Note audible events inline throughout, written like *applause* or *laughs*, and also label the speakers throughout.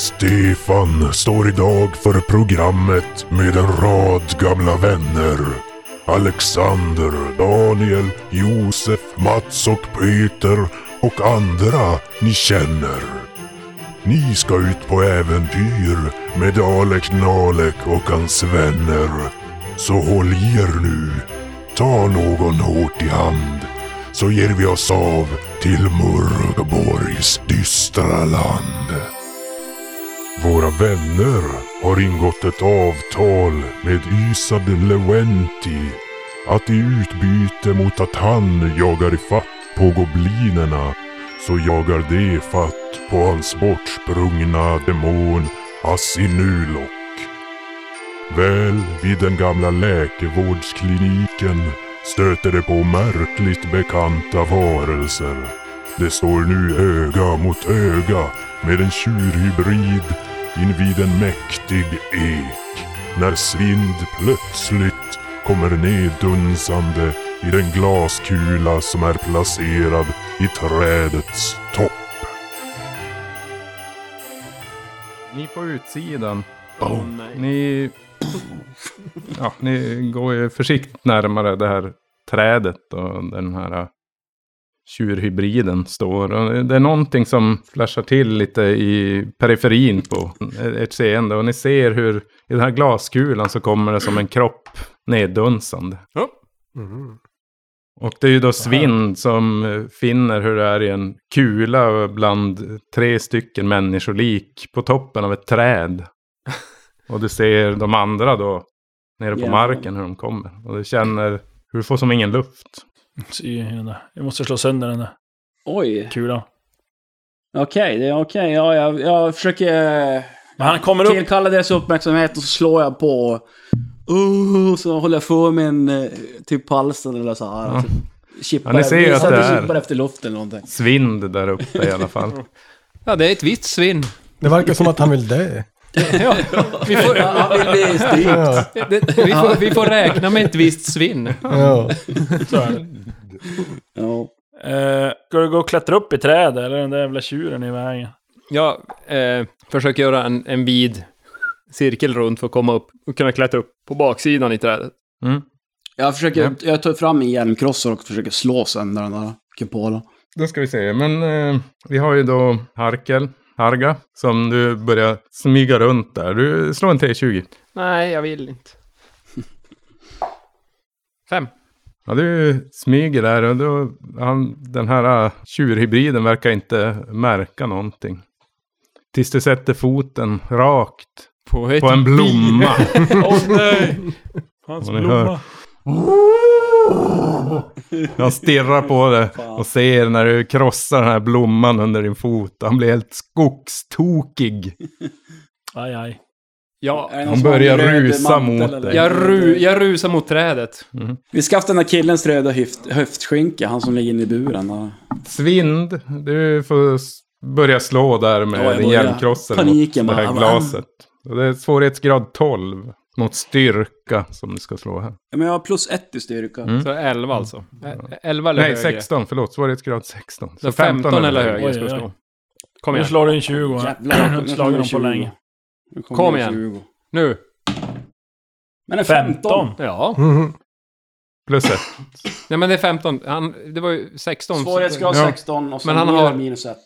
Speaker 1: Stefan står idag för programmet med en rad gamla vänner. Alexander, Daniel, Josef, Mats och Peter och andra ni känner. Ni ska ut på äventyr med Alek Nalek och hans vänner. Så håll i er nu. Ta någon hårt i hand. Så ger vi oss av till Murgborgs dystra land. Våra vänner har ingått ett avtal med Ysad Lewenti att i utbyte mot att han jagar ifatt på goblinerna så jagar de fatt på hans bortsprungna demon Asinulok. Väl vid den gamla läkevårdskliniken stöter de på märkligt bekanta varelser. Det står nu öga mot öga med en tjurhybrid invid en mäktig ek. När Svind plötsligt kommer neddunsande i den glaskula som är placerad i trädets topp.
Speaker 2: Ni på utsidan,
Speaker 3: Åh nej.
Speaker 2: ni... Ja, ni går ju försiktigt närmare det här trädet och den här äh, tjurhybriden står. Och det är någonting som flashar till lite i periferin på ert seende. Och ni ser hur i den här glaskulan så kommer det som en kropp neddunsande.
Speaker 3: Mm.
Speaker 2: Och det är ju då Svind som eh, finner hur det är i en kula bland tre stycken människolik på toppen av ett *laughs* träd. Och du ser de andra då nere på
Speaker 4: Ja.
Speaker 2: marken hur de kommer. Och du känner hur du får som ingen luft.
Speaker 5: Sy i den där. Jag måste slå sönder den där
Speaker 4: Oj.
Speaker 5: kulan.
Speaker 4: Okej, det är okej. Ja, jag, jag försöker eh,
Speaker 5: Men han kommer upp.
Speaker 4: tillkalla deras uppmärksamhet och så slår jag på. Uh, så håller jag för min eh, typ på halsen eller så här.
Speaker 2: Ja.
Speaker 4: Typ, chippar,
Speaker 2: Ja, ni ser ju
Speaker 4: visar
Speaker 2: att det är-
Speaker 4: chippar efter luft eller någonting.
Speaker 2: Svind där uppe i alla *laughs* fall.
Speaker 6: Ja, det är ett vitt svinn.
Speaker 3: Det verkar som att han vill dö.
Speaker 6: Ja, vi, får,
Speaker 4: Ja, Han vill bli strypt.
Speaker 3: Ja.
Speaker 6: det, *laughs* vi, får, vi får räkna med ett visst svinn.
Speaker 3: Ja.
Speaker 5: Så är det.
Speaker 4: *laughs* Ja.
Speaker 5: Eh, ska du gå och klättra upp i trädet eller den där jävla tjuren i vägen?
Speaker 6: Jag eh, försöker göra en, en vid cirkel runt för att komma upp och kunna klättra upp på baksidan i trädet.
Speaker 2: Mm.
Speaker 4: Jag försöker, jag tar fram min hjälmkrossare och försöker slå sönder den där kupolen.
Speaker 2: Då ska vi se. Men eh, vi har ju då Harkel, Harga, som du börjar smyga runt där. Du slår en T20.
Speaker 6: Nej, jag vill inte. Fem.
Speaker 2: Ja, du smyger där och då, han, den här äh, tjurhybriden verkar inte märka någonting. Tills du sätter foten rakt
Speaker 6: På, ett
Speaker 2: på en
Speaker 4: *laughs*
Speaker 2: blomma.
Speaker 5: Åh
Speaker 6: *laughs*
Speaker 5: nej! Hans
Speaker 2: Vad ni
Speaker 5: blomma.
Speaker 2: Han stirrar på det och ser när du krossar den här blomman under din fot. Han blir helt skogstokig.
Speaker 5: Aj, aj.
Speaker 6: Ja,
Speaker 4: Är det någon
Speaker 2: Han
Speaker 4: som har
Speaker 2: börjar
Speaker 4: en röd
Speaker 2: rusa
Speaker 4: mantel
Speaker 2: mot
Speaker 4: eller?
Speaker 2: dig.
Speaker 6: jag, ru, jag rusar mot trädet.
Speaker 4: Vi ska haft den där killens röda höft, höftskinka, han som ligger inne i buren. Där.
Speaker 2: Svind, du får s- börja slå där med
Speaker 4: Ja, jag
Speaker 2: din
Speaker 4: börjar.
Speaker 2: hjälmkrossare mot
Speaker 4: Paniken
Speaker 2: det
Speaker 4: bara.
Speaker 2: här glaset. Och det är svårighetsgrad 12 mot styrka som du ska slå här.
Speaker 4: Ja, men jag har plus ett i styrka.
Speaker 2: Mm.
Speaker 6: Så elva alltså. E- elva eller
Speaker 2: Nej,
Speaker 6: högre.
Speaker 2: 16, förlåt. Svårighetsgrad 16.
Speaker 6: Så 15 eller högre ska
Speaker 5: Oj,
Speaker 6: vi
Speaker 5: oj, oj.
Speaker 6: slå. Kom
Speaker 5: Nu
Speaker 6: igen.
Speaker 5: slår du en 20 här.
Speaker 4: *clears throat* Jävlar, nu
Speaker 5: Slagit dem på
Speaker 4: kommer
Speaker 5: länge.
Speaker 4: Nu kommer
Speaker 6: Kom
Speaker 4: det
Speaker 6: igen.
Speaker 4: 20.
Speaker 6: Nu.
Speaker 4: Men en
Speaker 5: 15.
Speaker 4: 15.
Speaker 6: Ja.
Speaker 3: Mhm.
Speaker 2: Plus 1.
Speaker 6: Nej men det är 15. Han, det var ju 16.
Speaker 4: Svårighetsgrad
Speaker 2: Ja.
Speaker 4: 16 och sen
Speaker 6: Men han
Speaker 4: ger
Speaker 6: har-
Speaker 4: jag minus ett.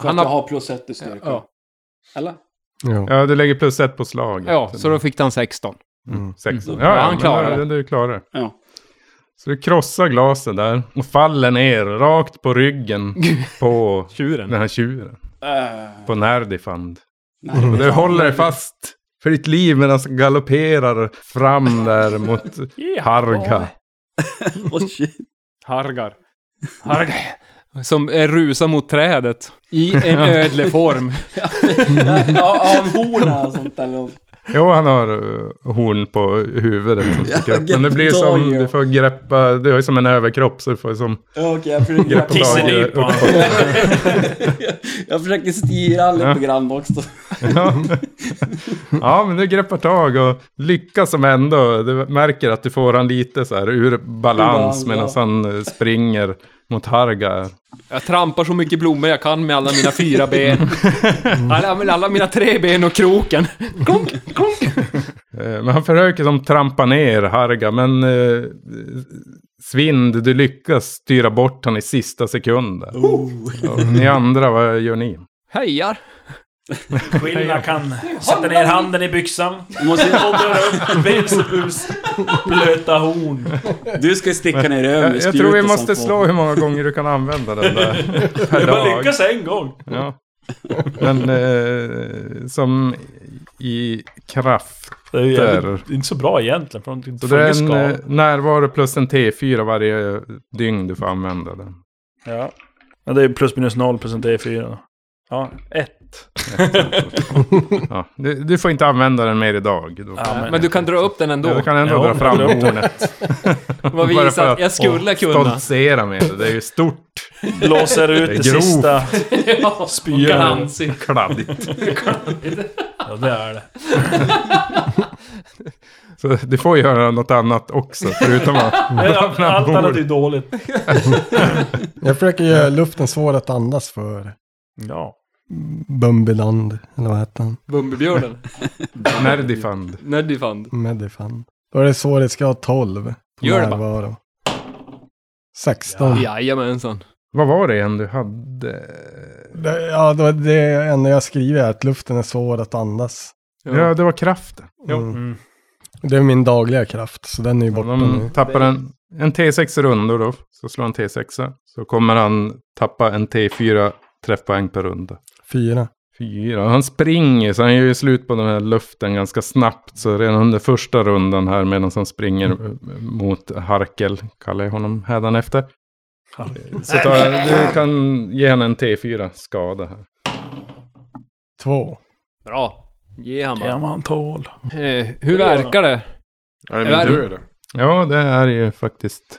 Speaker 4: För
Speaker 6: Han
Speaker 4: att jag
Speaker 6: har-
Speaker 4: har plus ett i styrka.
Speaker 6: Ja.
Speaker 4: Eller?
Speaker 3: Ja.
Speaker 2: Ja, du lägger plus 1 på slaget.
Speaker 6: Ja, så då fick han 16.
Speaker 3: Mm.
Speaker 2: 16.
Speaker 4: Mm.
Speaker 2: Ja,
Speaker 6: Ja, han
Speaker 2: men
Speaker 6: klarar det.
Speaker 2: Du klarar det.
Speaker 4: Ja.
Speaker 2: Så du krossar glaset där och faller ner rakt på ryggen
Speaker 6: *laughs*
Speaker 2: på
Speaker 6: Tjuren.
Speaker 2: den här tjuren.
Speaker 4: Eh,
Speaker 2: På Nerdifand.
Speaker 4: nej, det
Speaker 2: Och
Speaker 4: är
Speaker 2: Mm, du
Speaker 4: fan-
Speaker 2: håller dig fast för ditt liv medan han galopperar fram där mot
Speaker 6: *laughs*
Speaker 2: Harga.
Speaker 4: Åh, *laughs* shit.
Speaker 6: Hargar.
Speaker 2: *laughs*
Speaker 6: Hargar. Som eh, rusar mot trädet. I *laughs* en ödlig form.
Speaker 4: Ja, har han horn här och sånt eller?
Speaker 2: Jo, han har eh, horn på huvudet som sticker upp. Men det blir som, du får greppa, du har ju som en överkropp så du får ju som
Speaker 4: Ja, Okej, jag försöker...
Speaker 2: greppa
Speaker 5: Tisse
Speaker 2: tag i
Speaker 5: nypa.
Speaker 2: uppåt.
Speaker 4: jag försöker styra han lite grann också.
Speaker 2: Ja. Ja, men du greppar tag och lyckas som ändå. Du märker att du får han lite så här ur balans
Speaker 4: balans,
Speaker 2: medan han eh, springer mot Eh, Hargar.
Speaker 6: Jag trampar så mycket blommor jag kan med alla mina fyra ben.
Speaker 2: *laughs*
Speaker 6: Alla, med alla mina tre ben och kroken. Klonk, klonk.
Speaker 2: Eh, Men han försöker som trampa ner Harga, men eh, Svind, du lyckas styra bort han i sista sekunden. Och ni andra, vad gör ni?
Speaker 6: Hejar.
Speaker 5: Skillna kan sätta ner handen i byxan.
Speaker 4: Du, måste,
Speaker 5: Och dra upp *laughs* Belzebubs blöta horn.
Speaker 4: du ska sticka ner över
Speaker 2: Jag,
Speaker 4: med
Speaker 2: jag tror vi
Speaker 4: spjutet som
Speaker 2: måste
Speaker 4: får-
Speaker 2: slå hur många gånger du kan använda den där per
Speaker 5: Jag bara
Speaker 2: dag.
Speaker 5: lyckas en gång.
Speaker 2: Ja. Men eh, som i kraft.
Speaker 5: Det är ju
Speaker 2: Där.
Speaker 5: jävligt- det är inte så bra egentligen. För de
Speaker 2: Så det
Speaker 5: får ju
Speaker 2: är en eh,
Speaker 5: skada.
Speaker 2: närvaro plus en T4 varje dygn du får använda den.
Speaker 5: Ja. Men det är plus minus noll plus en D4. Ja, ett.
Speaker 2: Ja. Du, du får inte använda den mer idag. Då.
Speaker 5: Ja, men,
Speaker 6: Men du kan dra upp den
Speaker 2: Ja,
Speaker 6: ändå.
Speaker 2: du kan ändå
Speaker 5: Ja,
Speaker 2: dra fram
Speaker 5: jag tror
Speaker 2: hornet.
Speaker 6: Vad
Speaker 2: Bara för
Speaker 6: visar
Speaker 2: att
Speaker 6: att jag skulle kunna.
Speaker 2: Stoltsera med det. Det är ju stort.
Speaker 5: blåser ut
Speaker 2: Det
Speaker 5: det,
Speaker 2: är grovt.
Speaker 5: *laughs* sista.
Speaker 6: Ja,
Speaker 5: Spyr.
Speaker 6: Gansi.
Speaker 2: Kladdigt.
Speaker 5: Ja, det är det.
Speaker 2: Så du får göra något annat också. Förutom att dra
Speaker 5: Allt
Speaker 2: fram
Speaker 5: annat är
Speaker 2: bordet.
Speaker 5: ju dåligt.
Speaker 3: Jag försöker göra luften svår att andas för
Speaker 5: Ja.
Speaker 3: Bumbiland, eller vad heter han?
Speaker 6: *laughs* Bumbibjörnen.
Speaker 2: Nerdifund.
Speaker 6: Nerdifund.
Speaker 3: Medifan. Då är det svårighetsgrad 12. på
Speaker 6: Gör det bara.
Speaker 3: närvaro.
Speaker 2: Ah.
Speaker 3: 16. Ja,
Speaker 6: Jajamensan.
Speaker 2: Vad var det än du hade?
Speaker 3: det, ja då är det enda jag skriver är att luften är svår att andas.
Speaker 2: Ja, det var kraften.
Speaker 3: Mm.
Speaker 5: Mm.
Speaker 3: Det är min dagliga kraft, så den är ju borta
Speaker 2: De
Speaker 3: nu.
Speaker 2: tappar en, en T6 rundor då. Så slår han T6. Så kommer han tappa en T4 träffpoäng per runda.
Speaker 3: Fyra.
Speaker 2: Fyra. Han springer så han gör ju slut på den här luften ganska snabbt. Så redan under första rundan här medan han springer eh, mot Harkel, kallar jag honom hädanefter. Så tar, du kan ge henne en T4 skada här.
Speaker 3: Två.
Speaker 6: Bra. Ge han bara.
Speaker 5: Ja, man tål.
Speaker 6: Eh, hur verkar det?
Speaker 7: Är det
Speaker 6: Är det-
Speaker 7: min tur eller?
Speaker 2: Ja, det är ju faktiskt.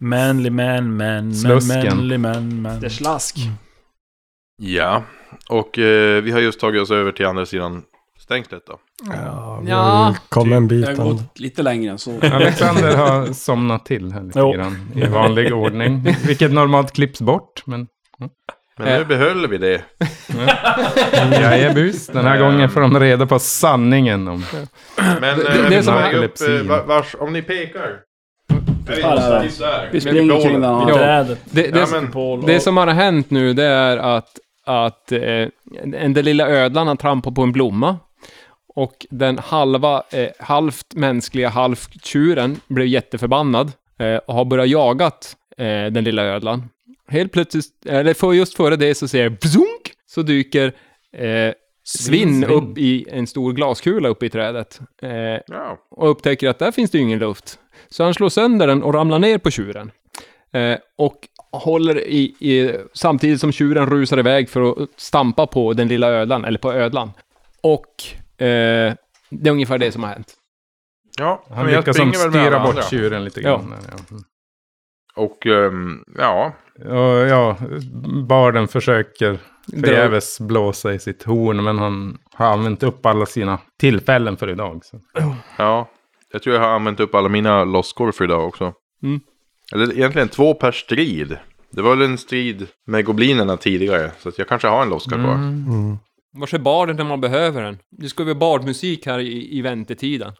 Speaker 5: Manly man, man, man,
Speaker 2: Slusken.
Speaker 5: manly man, man.
Speaker 6: Det slask.
Speaker 7: Ja, och eh, vi har just tagit oss över till andra sidan stängslet då.
Speaker 3: Ja, vi
Speaker 6: Ja,
Speaker 3: har ju kommit en
Speaker 4: Jag
Speaker 3: bit.
Speaker 4: har
Speaker 3: ändå.
Speaker 4: gått lite längre än så.
Speaker 2: Alexander har somnat till här lite
Speaker 5: Jo.
Speaker 2: grann. I vanlig ordning. Vilket normalt klipps bort. Men
Speaker 7: Men
Speaker 6: Eh.
Speaker 7: nu behöll vi det.
Speaker 2: jag är bus. Den här gången får de reda på sanningen om
Speaker 7: Men
Speaker 6: det är
Speaker 7: eh, vi
Speaker 6: som
Speaker 7: tar
Speaker 6: här-
Speaker 7: upp, eh, va- vars, om ni pekar. Jag
Speaker 2: Typ
Speaker 7: vet inte, just där.
Speaker 4: Vi springer kring den
Speaker 6: Ja.
Speaker 4: här.
Speaker 5: Trädet.
Speaker 6: Det, det,
Speaker 7: Ja, men-
Speaker 5: Pål
Speaker 6: det
Speaker 5: och-
Speaker 6: som har hänt nu det är att, att eh, den den lilla ödlan har trampat på en blomma. Och den halva, eh, halvt mänskliga, halvt tjuren blev jätteförbannad eh, och har börjat jagat eh, den lilla ödlan. Helt plötsligt, eller för just före det så ser jag bzunk, så dyker eh, svinn upp i en stor glaskula uppe i trädet. Eh,
Speaker 7: Ja.
Speaker 6: och upptäcker att där finns det ju ingen luft. Så han slår sönder den och ramlar ner på tjuren. Eh, och håller i, i, samtidigt som tjuren rusar iväg för att stampa på den lilla ödlan, eller på ödlan. Och eh, det är ungefär det som har hänt.
Speaker 7: Ja,
Speaker 2: Han
Speaker 7: men jag
Speaker 2: lyckas som
Speaker 7: springer väl med
Speaker 2: styra
Speaker 7: alla
Speaker 2: bort
Speaker 7: andra.
Speaker 2: tjuren lite
Speaker 6: Ja.
Speaker 2: grann. Ja. Ja.
Speaker 7: Och ehm, ja,
Speaker 2: Och, ja, barden försöker
Speaker 6: Dra-
Speaker 2: förgäves blåsa i sitt horn, men han har använt upp alla sina tillfällen för idag. Så.
Speaker 7: ja. Jag tror jag har använt upp alla mina losskor för idag också.
Speaker 6: Mm.
Speaker 7: Eller egentligen två per strid. Det var väl en strid med goblinerna tidigare. Så att jag kanske har en losska kvar.
Speaker 3: Mm.
Speaker 6: Vars är barden när man behöver den? Det ska ju vara bardmusik här i, i väntetiden.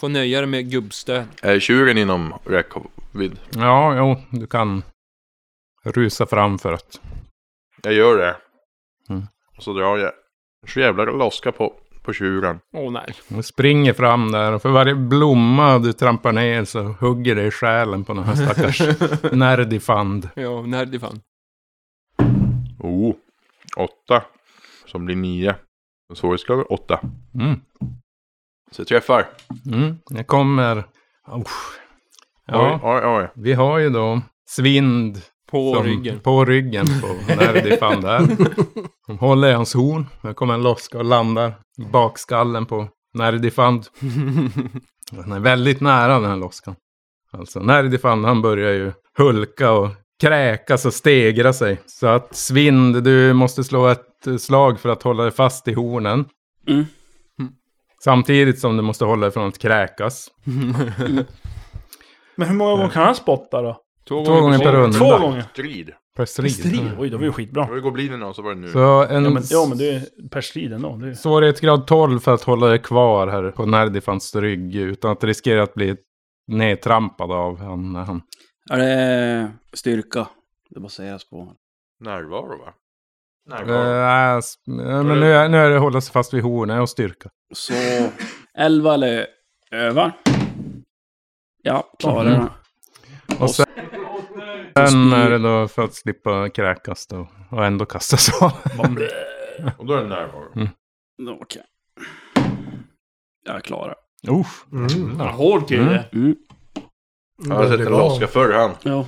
Speaker 6: Få nöja dig med gubbstöd.
Speaker 7: Är Eh, tjuren inom räckvidd?
Speaker 2: Ja, jo, du kan rusa fram för att...
Speaker 7: Jag gör det.
Speaker 2: Mm.
Speaker 7: Och så drar jag. Så jävla loska på, på tjuren.
Speaker 6: Åh nej.
Speaker 2: Du springer fram där och för varje blomma du trampar ner så hugger det i själen på den här
Speaker 6: *laughs*
Speaker 8: *laughs*
Speaker 2: stackars nerdifand.
Speaker 6: Ja, när det fan.
Speaker 7: Oh, åtta. Som blir nio. Svårighetsgrad är åtta.
Speaker 2: Mm.
Speaker 7: Så jag träffar.
Speaker 2: Mm. Jag kommer... Usch. Ja,
Speaker 7: Oj, oj, oj.
Speaker 2: vi har ju då Svind
Speaker 6: På
Speaker 2: som,
Speaker 6: ryggen.
Speaker 2: På ryggen på Nerdifan där.
Speaker 5: *laughs*
Speaker 2: De håller i hans horn. Här kommer en loska och landar i bakskallen på
Speaker 5: *laughs*
Speaker 2: Nerdifand. Den är väldigt nära den här loskan. Alltså Nerdifand han börjar ju hulka och kräkas och stegra sig. Så att Svind, du måste slå ett slag för att hålla dig fast i hornen.
Speaker 4: Mm.
Speaker 2: Samtidigt som du måste hålla dig från att kräkas.
Speaker 5: Men hur många gånger kan han spotta då?
Speaker 2: Två gånger per runda.
Speaker 5: Två gånger?
Speaker 7: Strid.
Speaker 2: Per strid. Mm.
Speaker 5: Strid? Oj, det var ju
Speaker 7: Det
Speaker 5: skitbra.
Speaker 7: var ju goblinerna och så var det nu.
Speaker 2: Så en
Speaker 5: Ja men, ja, men det är per strid ändå. *laughs* Det är...
Speaker 2: svårighetsgrad 12 för att hålla dig kvar här på Nerdifans rygg. Utan att riskera att bli nedtrampad av han. när han.
Speaker 4: Ja, det är styrka. Det baseras på.
Speaker 7: Närvaro va?
Speaker 2: Eh,
Speaker 7: Närvaro.
Speaker 2: nej, s- eh, men nu är, nu är det hålla sig fast vid hornen och styrka.
Speaker 4: Så 11 eller över. Ja, klarar
Speaker 2: Mm.
Speaker 4: den.
Speaker 2: Och sen, sen är det då för att slippa kräkas då. Och ändå kastas av. Eh.
Speaker 7: Och då är det
Speaker 2: Mm.
Speaker 7: närvaro.
Speaker 4: Då, Okej. Jag klarar.
Speaker 2: *laughs* Usch.
Speaker 5: Ja, Hård kille.
Speaker 4: Mm.
Speaker 7: Jag har sett en loska förr han.
Speaker 4: Ja.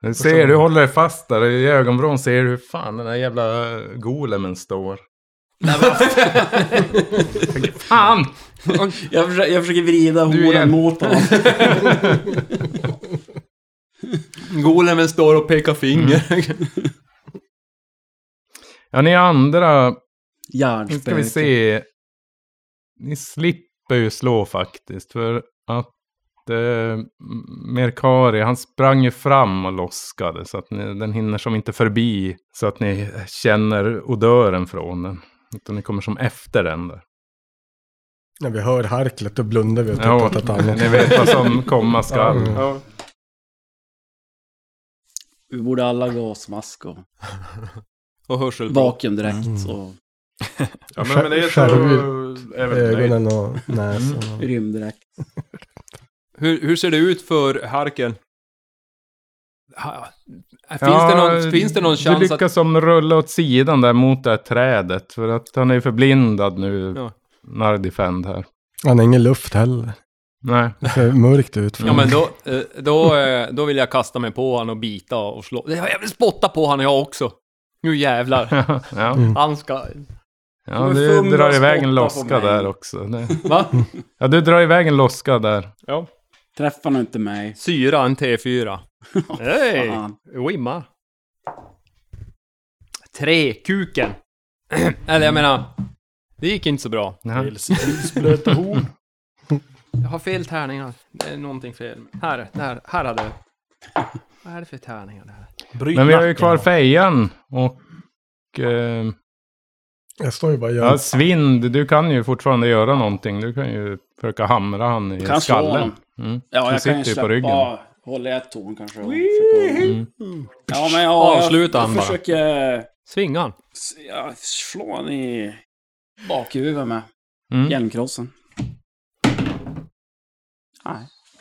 Speaker 2: Du ser, du håller dig fast där i ögonvrån ser du hur fan den där jävla eh, golemen står. *laughs* fan!
Speaker 4: Jag, försöker, jag försöker vrida
Speaker 2: Du igen.
Speaker 4: horen mot honom.
Speaker 8: Golemen står och pekar finger.
Speaker 4: Mm.
Speaker 2: Ja, ni andra, nu ska vi
Speaker 4: Järnspöke.
Speaker 2: se. Ni slipper ju slå faktiskt. För att eh, Mercari, han sprang ju fram och loskade. Så att ni, den hinner som inte förbi. Så att ni känner odören från den. Utan ni kommer som efter den där.
Speaker 3: När vi hör harklet då blundar vi och tittar
Speaker 2: Ja,
Speaker 3: åt ett annat.
Speaker 2: ni vet vad som komma skall.
Speaker 3: Mm.
Speaker 4: Vi borde alla gasmask och
Speaker 3: Mm.
Speaker 8: Och hörselpropp.
Speaker 4: vakuumdräkt och
Speaker 7: Ja men, men det är så...
Speaker 3: Skär-
Speaker 7: Är väl nej.
Speaker 3: Ögonen och näsan.
Speaker 4: Mm.
Speaker 3: och-
Speaker 4: rymddräkt.
Speaker 8: Hur, hur ser det ut för Harken? Ha, finns,
Speaker 2: Ja,
Speaker 8: det någon, finns det någon
Speaker 2: Du
Speaker 8: chans att...
Speaker 2: lyckas som rulla åt sidan där mot det här trädet. För att han är ju förblindad nu.
Speaker 8: Ja.
Speaker 2: Nardifend här.
Speaker 3: Han har ingen luft heller.
Speaker 2: Nej. *laughs*
Speaker 3: Det ser mörkt ut. för
Speaker 8: Ja men
Speaker 3: mig.
Speaker 8: då, eh, då, eh, då vill jag kasta mig på han och bita och slå. Jag vill spotta på han jag också. Nu jävlar.
Speaker 2: ja.
Speaker 8: Han ska...
Speaker 2: ja,
Speaker 4: Men
Speaker 2: du
Speaker 4: fumla
Speaker 2: drar iväg
Speaker 4: spotta på
Speaker 2: en loska
Speaker 4: mig.
Speaker 2: där också. Det.
Speaker 8: Va?
Speaker 2: *laughs* Ja, du drar iväg en loska där.
Speaker 4: Träffar nu inte mig.
Speaker 8: Syra en T4. Hej!
Speaker 4: Fan.
Speaker 8: Wimma. Tre, kuken. *clears throat* Eller jag menar, det gick inte så bra.
Speaker 2: Ja.
Speaker 5: Blöta horn.
Speaker 8: Jag har fel tärningar. Det är någonting fel. Här, där, här hade jag. Vad är det för tärningar det här?
Speaker 5: Bryt
Speaker 2: Men vi har ju
Speaker 5: nacken.
Speaker 2: kvar fejan. Och... Eh,
Speaker 3: Jag står ju bara och gör
Speaker 2: ja, Svind, du kan ju fortfarande göra någonting. Du kan ju försöka hamra han i
Speaker 4: Kan slå
Speaker 2: skallen.
Speaker 4: honom.
Speaker 2: Mm.
Speaker 4: Ja,
Speaker 2: Den
Speaker 4: jag
Speaker 2: sitter ju
Speaker 4: kan ju
Speaker 2: på
Speaker 4: släppa
Speaker 2: ryggen.
Speaker 4: av. Håller jag ett torn kanske. och försöker- Ja, men jag,
Speaker 8: Avsluta
Speaker 4: jag,
Speaker 8: han
Speaker 4: jag
Speaker 8: bara.
Speaker 4: försöker
Speaker 8: Svingan.
Speaker 4: s- ja, slå honom i bakhuvudet med
Speaker 2: Mm.
Speaker 4: hjälmkrossen. Nej,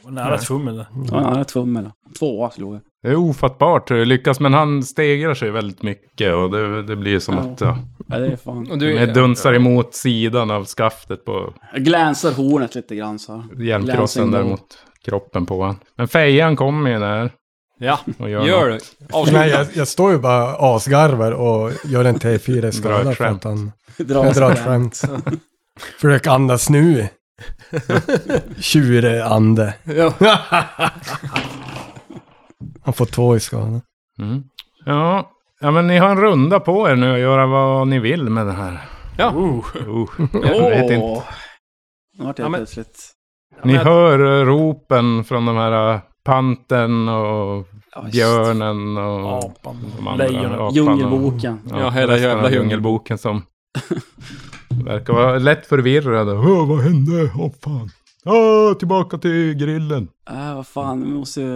Speaker 5: Vad Nära ett fummel. där.
Speaker 4: det var nära tummel. Tvåa slog jag.
Speaker 2: Det är ofattbart hur det lyckas, men han stegrar sig väldigt mycket och det, det blir som
Speaker 4: Ja.
Speaker 2: att ja,
Speaker 4: Ja, det är fan.
Speaker 8: Och du,
Speaker 2: det dunsar emot sidan av skaftet på
Speaker 4: Jag glansar hornet lite grann så. här. Glansar
Speaker 2: hjälmkrossen
Speaker 4: in
Speaker 2: där
Speaker 4: dem.
Speaker 2: mot kroppen på han. Men fejan kommer ju där
Speaker 8: Ja,
Speaker 2: och gör,
Speaker 8: gör
Speaker 2: något.
Speaker 8: det. Avsluta.
Speaker 3: Nej, jag, jag står ju bara asgarvar och gör en T4 i
Speaker 2: Drar
Speaker 3: skada
Speaker 2: ett
Speaker 3: för
Speaker 2: skämt.
Speaker 3: att han...
Speaker 4: Dra
Speaker 3: Jag drar ett
Speaker 4: sig.
Speaker 3: skämt. Försök andas nu. Tjureande.
Speaker 2: *laughs*
Speaker 8: Ja.
Speaker 3: Han får två i skada.
Speaker 2: Mm. Ja. ja, men ni har en runda på er nu att göra vad ni vill med det här.
Speaker 4: *laughs*
Speaker 8: Ja.
Speaker 2: Uh, jag vet inte.
Speaker 4: Åh. Nu vart
Speaker 8: Ja,
Speaker 4: jag
Speaker 8: men-
Speaker 4: plötsligt...
Speaker 2: Ni
Speaker 8: men-
Speaker 2: hör eh, ropen från de här eh, panten och
Speaker 4: Ja, just.
Speaker 2: björnen och
Speaker 5: Apan.
Speaker 2: de andra
Speaker 5: Lejonen.
Speaker 2: apan och-
Speaker 4: Djungelboken.
Speaker 8: Ja, hela
Speaker 2: resten av
Speaker 8: jävla
Speaker 2: djungelboken som *laughs* verkar vara lätt förvirrad. Åh, vad hände? Åh, fan. Åh, tillbaka till grillen.
Speaker 4: Äh, vad fan, vi måste ju...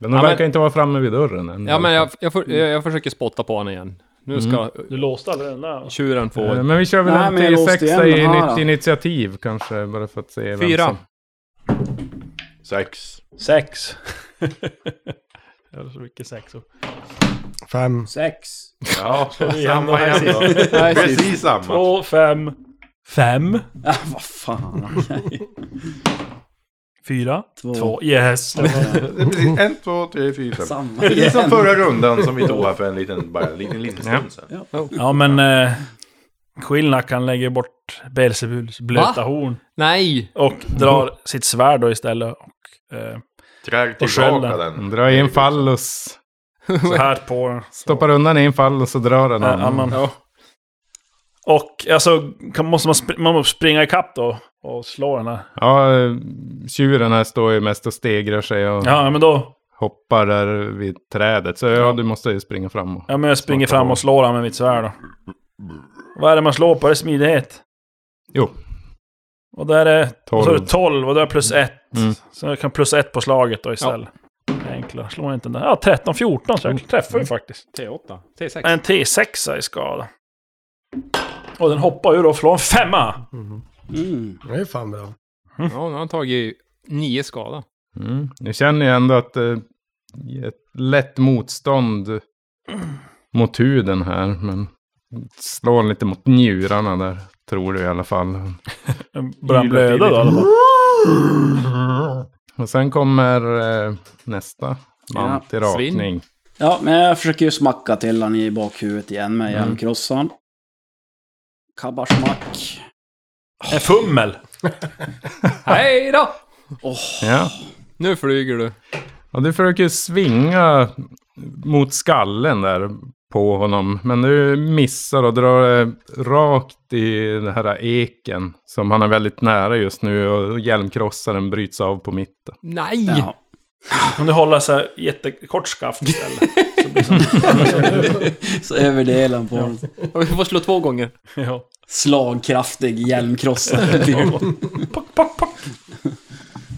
Speaker 2: Men de
Speaker 8: Ja, men-
Speaker 2: verkar inte vara framme vid dörren än.
Speaker 8: Ja, men jag, jag, för, jag, jag försöker spotta på honom igen. Nu ska
Speaker 2: Mm.
Speaker 5: Du låste aldrig den där?
Speaker 8: tjuren få...
Speaker 2: Eh, Men vi kör väl
Speaker 4: Nej,
Speaker 2: en
Speaker 4: men jag
Speaker 2: till
Speaker 4: låste
Speaker 2: sexa
Speaker 4: igen
Speaker 2: i
Speaker 4: den här
Speaker 2: nytt
Speaker 4: då.
Speaker 2: initiativ kanske, bara för att se vem
Speaker 8: Fyra.
Speaker 2: som-
Speaker 7: Sex.
Speaker 5: *laughs* Sex. Eller så mycket sex.
Speaker 3: Fem.
Speaker 4: Sex.
Speaker 7: Ja,
Speaker 5: samma
Speaker 7: samma igen då.
Speaker 8: Nej, sist.
Speaker 7: Precis samma.
Speaker 5: Två, fem. Fem.
Speaker 4: Äh, vad fan.
Speaker 2: *laughs*
Speaker 4: okej.
Speaker 5: Fyra.
Speaker 4: Två.
Speaker 5: Två. Yes.
Speaker 7: Det är precis en, två, tre, fyra,
Speaker 2: *laughs*
Speaker 7: fem.
Speaker 4: Samma
Speaker 7: Precis som
Speaker 4: igen.
Speaker 7: förra rundan som vi tog här för en liten, bara, en liten, liten stund sen.
Speaker 5: Ja men... Eh, Skillnack han lägger bort Belzebuls blöta
Speaker 8: Va?
Speaker 5: horn.
Speaker 8: Nej!
Speaker 5: Och drar sitt svärd då istället. Och, eh,
Speaker 7: Trär
Speaker 5: skölden.
Speaker 7: tillbaka
Speaker 6: Mm.
Speaker 7: den.
Speaker 2: Dra in fallus.
Speaker 5: så här på den. *laughs*
Speaker 2: Stoppar undan en fallus och drar den
Speaker 5: Äh, annan.
Speaker 2: annan.
Speaker 5: Och alltså, kan, måste man, spr- man måste springa ikapp då och slå den här.
Speaker 2: Ja, eh, tjuren här står ju mest och stegrar sig och
Speaker 5: Ja, men då...
Speaker 2: hoppar där vid trädet. Så ja, du måste ju springa fram. Och...
Speaker 5: Ja, men jag springer fram och slår han med mitt svärd då. Vad är det man slår på? Är det smidighet?
Speaker 2: Jo,
Speaker 5: Och där är... Och så är
Speaker 2: 12.
Speaker 5: det 12 och där är plus 1.
Speaker 2: Mm.
Speaker 5: Så jag kan plus 1 på slaget då istället. Enklare. Slår jag inte den där. Ja, 13, 14 så jag
Speaker 2: Mm.
Speaker 5: träffar ju faktiskt.
Speaker 6: T8. T6.
Speaker 5: En T6 i skada. Och den hoppar ju då från femma.
Speaker 4: Mm.
Speaker 3: Det är fan bra.
Speaker 6: Ja, nu har han tagit nio skada.
Speaker 2: Mm. Nu känner jag ändå att eh, ett lätt motstånd mot huden här. Men slår lite mot njurarna där, tror du i alla fall.
Speaker 5: Börjar han blöda då? eller?
Speaker 2: Och sen kommer eh, nästa man
Speaker 4: Ja,
Speaker 2: till
Speaker 6: svin.
Speaker 2: rakning.
Speaker 4: Ja, men jag försöker ju smacka till han i bakhuvudet igen med
Speaker 2: Mm.
Speaker 4: hjälmkrossan. Kabarsmack.
Speaker 5: En fummel!
Speaker 6: Hej då!
Speaker 2: Ja.
Speaker 6: Nu flyger du.
Speaker 2: Och du försöker svinga mot skallen där på honom. Men du missar och drar eh, rakt i den här eken. Som han är väldigt nära just nu. Och hjälmkrossaren bryts av på mitten.
Speaker 6: Nej!
Speaker 4: Ja.
Speaker 5: Om du håller så här jättekort skaft istället.
Speaker 2: *laughs*
Speaker 4: Så överdelen på en
Speaker 6: Och Vi får slå två gånger.
Speaker 5: ja.
Speaker 4: slagkraftig *laughs* hjälmkrossare. typ.
Speaker 5: Pock, pock, pock.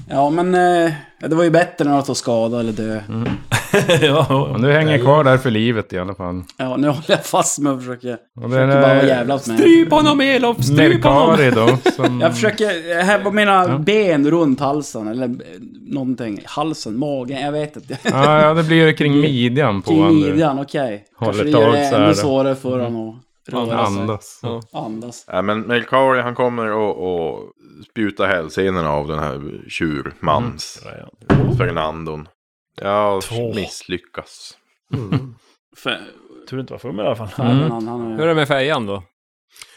Speaker 4: ja, men eh, det var ju bättre än att ta skada eller dö.
Speaker 2: Mm.
Speaker 5: ja.
Speaker 2: Men du hänger kvar där för livet i alla fall.
Speaker 4: Ja, nu håller jag fast med och försöker,
Speaker 2: Och det
Speaker 4: försöker bara vara
Speaker 2: är
Speaker 4: jävla åt mig.
Speaker 6: Stryp honom Elof! Stryp honom!
Speaker 2: Nerkari då. Som...
Speaker 4: Jag försöker häva mina
Speaker 2: Ja.
Speaker 4: ben runt halsen eller eh, någonting. Halsen, magen, jag vet inte.
Speaker 2: Ja, ja, det blir ju kring midjan på
Speaker 4: Kring
Speaker 2: honom nu.
Speaker 4: midjan, okej. Kanske
Speaker 2: Håller
Speaker 4: det gör
Speaker 2: tag
Speaker 4: det
Speaker 2: så här
Speaker 4: ännu
Speaker 2: då.
Speaker 4: svårare för honom att röra sig.
Speaker 2: Andas.
Speaker 6: Ja.
Speaker 4: Andas.
Speaker 7: Nej, men Melkari han kommer och, och spjuta hälsenorna av den här tjurmans.
Speaker 6: Mm.
Speaker 7: Fernandon. Jag
Speaker 5: Två.
Speaker 7: misslyckas.
Speaker 3: Mm.
Speaker 4: För,
Speaker 5: Tur inte var fummel i alla fall.
Speaker 4: Nej, men han, han
Speaker 6: Mm. Hur är
Speaker 4: är...
Speaker 6: det med fejan då?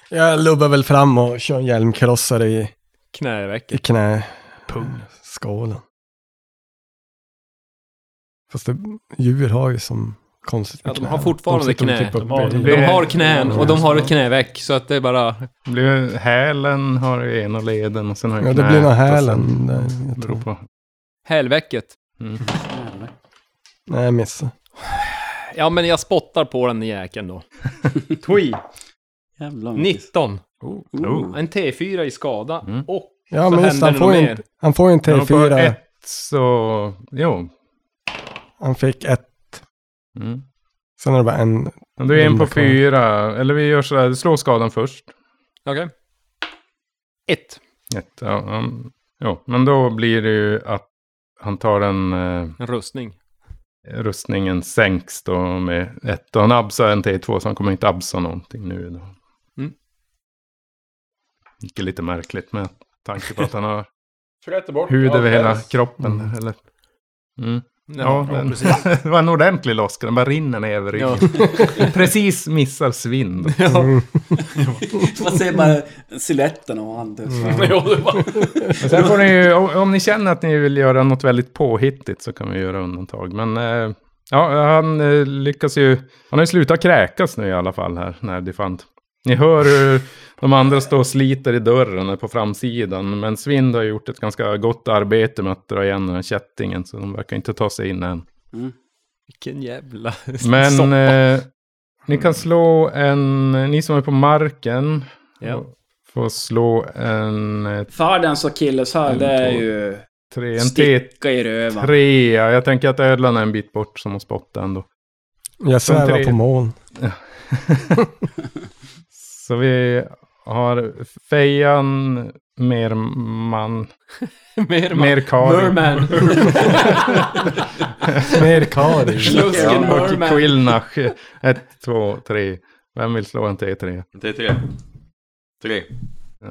Speaker 3: Jag lubbar väl fram och kör en hjälmkrossare i,
Speaker 6: Knäveck.
Speaker 3: i knä.
Speaker 5: Pung.
Speaker 3: skålen. Fast det, djur har ju som konstigt med
Speaker 6: Ja, de
Speaker 3: knä.
Speaker 6: har fortfarande
Speaker 3: sitter
Speaker 6: knä.
Speaker 3: typ uppe
Speaker 5: De har-
Speaker 3: i-
Speaker 5: Det
Speaker 6: De
Speaker 5: är-
Speaker 6: har knän och de har ett knäveck, så att det är bara...
Speaker 2: Det blir ju hälen har ju ena leden och sen har ju
Speaker 3: Ja, det
Speaker 2: knät
Speaker 3: blir nog
Speaker 2: och sen- Mm.
Speaker 3: hälen. där, Jag
Speaker 2: Beror
Speaker 3: tror.
Speaker 2: på.
Speaker 6: Hälvecket.
Speaker 3: Nej, jag missade.
Speaker 6: Ja, men jag spottar på den jäkeln då.
Speaker 8: Tui.
Speaker 4: Jävlar.
Speaker 6: 19.
Speaker 2: Oh.
Speaker 6: En T4 i skada
Speaker 2: Mm.
Speaker 6: och...
Speaker 3: Ja,
Speaker 6: Så
Speaker 3: men just,
Speaker 6: händer
Speaker 3: han
Speaker 6: det
Speaker 3: får,
Speaker 6: nog
Speaker 3: ju
Speaker 6: mer.
Speaker 3: en, han får ju en
Speaker 2: Ja, På
Speaker 3: T4.
Speaker 2: ett så... Jo.
Speaker 3: Han fick ett.
Speaker 2: Mm.
Speaker 3: Sen är det bara en.
Speaker 2: Men Du är en på
Speaker 3: Lilla kvar.
Speaker 2: fyra. Eller vi gör sådär. Du slår skadan först.
Speaker 6: Okej. Ett.
Speaker 2: Ett. Ja, ja. Jo, men då blir det ju att han tar en... Eh,
Speaker 6: En rustning.
Speaker 2: rustningen sänks då med ett. Och han absar en T2 så han kommer inte absa någonting nu. Då.
Speaker 6: Mm.
Speaker 2: Vilket är lite märkligt med tanke på att han har
Speaker 7: Fläter bort.
Speaker 2: hud över hela
Speaker 7: allt.
Speaker 2: kroppen.
Speaker 3: Mm.
Speaker 2: Eller? Mm. Ja,
Speaker 6: Ja.
Speaker 2: den, *laughs* det var en ordentlig loska. Den bara rinner ner över ryggen. *laughs* Precis missar svinn. då.
Speaker 3: Mm.
Speaker 4: Man ser bara siluetten av han. Typ.
Speaker 5: *laughs* Jo, det var...
Speaker 2: Men sen får ni ju, om, om ni känner att ni vill göra något väldigt påhittigt så kan vi göra undantag. Men eh, ja, han eh, lyckas ju, han har ju slutat kräkas nu i alla fall här, när det fant. Ni hör hur de andra står och sliter i dörren här på framsidan. Men Svind har gjort ett ganska gott arbete med att dra igen den här kättingen. Så de verkar inte ta sig in än.
Speaker 6: Vilken jävla... *laughs*
Speaker 2: Men
Speaker 6: soppa.
Speaker 2: eh, ni kan slå en, ni som är på marken.
Speaker 6: Ja.
Speaker 2: Får slå en, eh,
Speaker 4: Fardens och Akilleshäl, det är ju
Speaker 2: tre, en T
Speaker 4: sticka i röven.
Speaker 2: Trea. Jag tänker att ödlan är en bit bort som hon spottar ändå.
Speaker 3: Jag svävar
Speaker 2: tre.
Speaker 3: på moln.
Speaker 2: Så vi har Fejan, mer man,
Speaker 6: Mer man.
Speaker 2: mer Karin, *laughs*
Speaker 6: Merman.
Speaker 3: Mer
Speaker 6: *laughs*
Speaker 3: kari.
Speaker 6: Slusken
Speaker 2: ja, och
Speaker 6: Merman.
Speaker 2: Quillnach. Ett, två, tre. Vem vill slå en T3?
Speaker 7: Det är tre. Tre.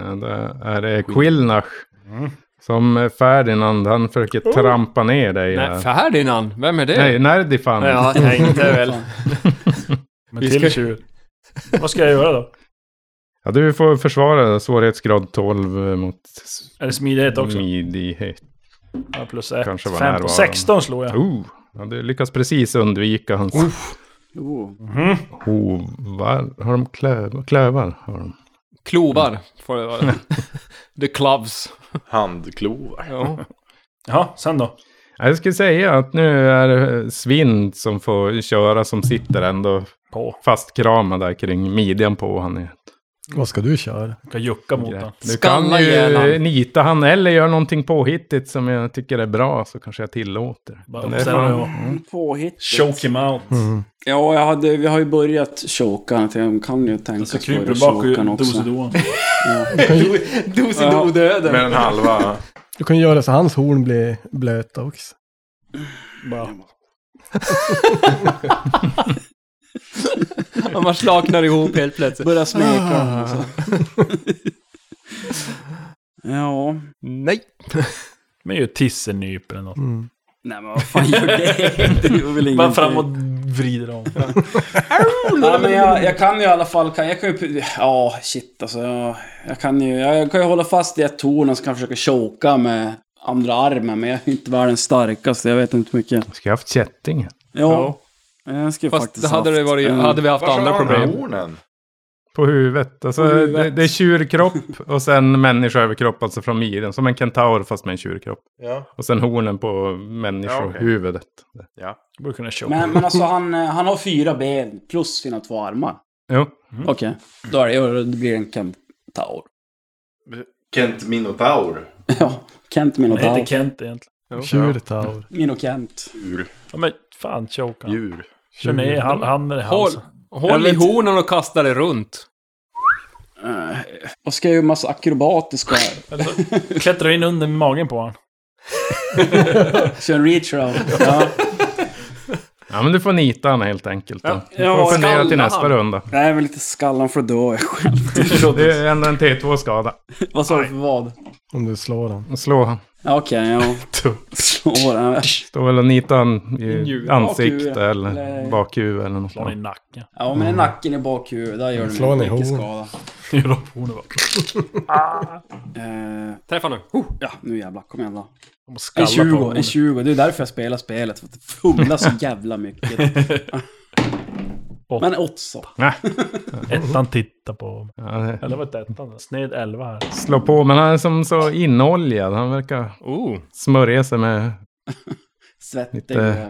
Speaker 2: Eh, Där är det Quillnach.
Speaker 6: Mm.
Speaker 2: Som Ferdinand, han försöker trampa ner dig
Speaker 6: Oh. Nej,
Speaker 2: här.
Speaker 6: Ferdinand. Vem är det?
Speaker 2: Nej, Nerdifan.
Speaker 6: Ja, jag tänkte väl.
Speaker 5: Men
Speaker 6: Vi
Speaker 5: till
Speaker 6: ska-
Speaker 5: tjur. Vad ska jag göra då?
Speaker 2: Ja, du får försvara svårighetsgrad 12 mot
Speaker 5: Är det smidighet också?
Speaker 7: Mm.
Speaker 2: smidighet.
Speaker 5: Ja, plus ett.
Speaker 2: Kanske var
Speaker 5: Femton.
Speaker 2: närvarande.
Speaker 5: 16 slog jag.
Speaker 2: Oh, ja, du lyckas precis undvika hans
Speaker 4: *laughs* Oh.
Speaker 2: Hovar? Har de klövar? Klövar har de.
Speaker 6: Klovar får det vara. The clubs.
Speaker 7: Handklovar.
Speaker 6: Ja.
Speaker 5: Ja, sen då?
Speaker 2: Jag skulle säga att nu är det Svind som får köra som sitter ändå
Speaker 5: På.
Speaker 2: fastkramad där kring midjan på han. Är.
Speaker 3: Vad ska du köra?
Speaker 5: Ska jucka mot den.
Speaker 2: Du kan
Speaker 8: Skalla ihjäl
Speaker 2: ju
Speaker 8: han.
Speaker 2: nita han eller göra någonting påhittigt som jag tycker är bra så kanske jag tillåter.
Speaker 5: Bara
Speaker 2: Men det är
Speaker 5: observera
Speaker 2: fan-
Speaker 5: och-
Speaker 4: Påhittigt.
Speaker 5: Choke him out.
Speaker 3: Mm.
Speaker 4: Ja, jag hade, vi har ju börjat choka. Jag tänkte, kan ju
Speaker 5: Så
Speaker 4: tänkas
Speaker 5: Alltså, kryper
Speaker 4: börja
Speaker 5: du bak
Speaker 4: choka
Speaker 5: och *laughs*
Speaker 4: också.
Speaker 5: dosidåan.
Speaker 4: Ja.
Speaker 8: Dosidodöden.
Speaker 7: Mer än halva.
Speaker 3: Du kan ju göra så hans horn blir blöta också.
Speaker 8: Och man slaknar ihop helt plötsligt.
Speaker 4: Börja smeka. alltså. ja.
Speaker 6: Nej.
Speaker 5: Men ju tissenyp eller något.
Speaker 3: Mm.
Speaker 4: Nej men vad fan gör det? Det gör väl ingenting.
Speaker 5: Bara fram och vrider om.
Speaker 4: Nej, men jag, jag kan ju i alla fall... Kan, jag kan ju... Ja, shit alltså. Jag, jag kan ju... Jag kan ju hålla fast i ett torn och så kan jag försöka choka med andra armen. Men jag är inte världens starkaste. Jag vet inte hur mycket.
Speaker 2: Ska jag haft kätting?
Speaker 4: Ja. Jag skulle
Speaker 6: Fast
Speaker 4: faktiskt
Speaker 6: det hade,
Speaker 4: haft
Speaker 6: det varit,
Speaker 4: en-
Speaker 6: hade vi haft Mm.
Speaker 7: Vart
Speaker 6: andra
Speaker 7: har
Speaker 6: problem.
Speaker 7: han hornen?
Speaker 2: På huvudet. Alltså,
Speaker 4: På huvudet.
Speaker 2: Det, det är tjurkropp och sen människoöverkropp, alltså från midjan. Som en kentaur fast med en tjurkropp.
Speaker 7: Ja.
Speaker 2: Och sen hornen på
Speaker 7: Ja, okej.
Speaker 2: människohuvudet.
Speaker 5: Borde kunna choka.
Speaker 4: Men, men alltså han, eh, han har fyra ben plus sina två armar.
Speaker 2: Jo.
Speaker 6: Mm.
Speaker 4: Okej. Då är det, det blir en kentaur.
Speaker 7: Kent Minotaur.
Speaker 4: *laughs* Ja, Kent
Speaker 5: Han heter
Speaker 4: Minotaur.
Speaker 5: Kent egentligen.
Speaker 3: Tjurtaur.
Speaker 4: Minokent.
Speaker 7: Djur.
Speaker 5: Ja, men fan choka han.
Speaker 7: Djur.
Speaker 5: Kör ner han, han med
Speaker 6: Håll,
Speaker 5: halsen.
Speaker 6: håll i hornen och kasta det runt.
Speaker 4: Eh, Och ska jag göra en massa akrobatiska...
Speaker 5: Klättra in under magen på honom.
Speaker 4: Kör en reach around.
Speaker 6: *laughs*
Speaker 4: Ja.
Speaker 2: Ja, men du får nita han helt enkelt. Då. Du
Speaker 4: Ja,
Speaker 2: får fundera till
Speaker 6: skalla
Speaker 2: nästa
Speaker 6: han.
Speaker 2: runda.
Speaker 4: Jag är väl lite skallan för då *laughs* jag själv.
Speaker 2: Det är ändå en T2-skada.
Speaker 4: Vad sa du för vad?
Speaker 3: Om du slår han.
Speaker 2: Slå han.
Speaker 4: Ja, Okej, ja. Slår den.
Speaker 2: Står väl och nitar han i
Speaker 4: Njure.
Speaker 2: ansikte
Speaker 4: Bakhuvud.
Speaker 2: eller
Speaker 4: Nej.
Speaker 2: bakhuvud eller något.
Speaker 5: Slår han i nacken. *laughs*
Speaker 4: Ja, men nacken i bakhuvudet, där gör det
Speaker 3: Slå
Speaker 4: mig
Speaker 3: ner
Speaker 4: mycket
Speaker 3: horn.
Speaker 4: skada.
Speaker 5: Gör upp hornet bara.
Speaker 4: Eh,
Speaker 6: Träffa nu.
Speaker 4: ja, nu jävlar. Kom igen då.
Speaker 5: De har
Speaker 4: En
Speaker 5: skallat på
Speaker 4: 20, en
Speaker 5: hornet.
Speaker 4: 20. Det är därför jag spelar spelet. För att det fumlar så jävla mycket. *laughs* men också.
Speaker 5: Ettan tittar på...
Speaker 2: Ja, det-
Speaker 5: Eller var det ettan? Sned elva här.
Speaker 2: slå på, men han är som så inoljad. Han verkar
Speaker 6: Oh.
Speaker 2: smörja sig med
Speaker 4: Svettig.
Speaker 2: Lite-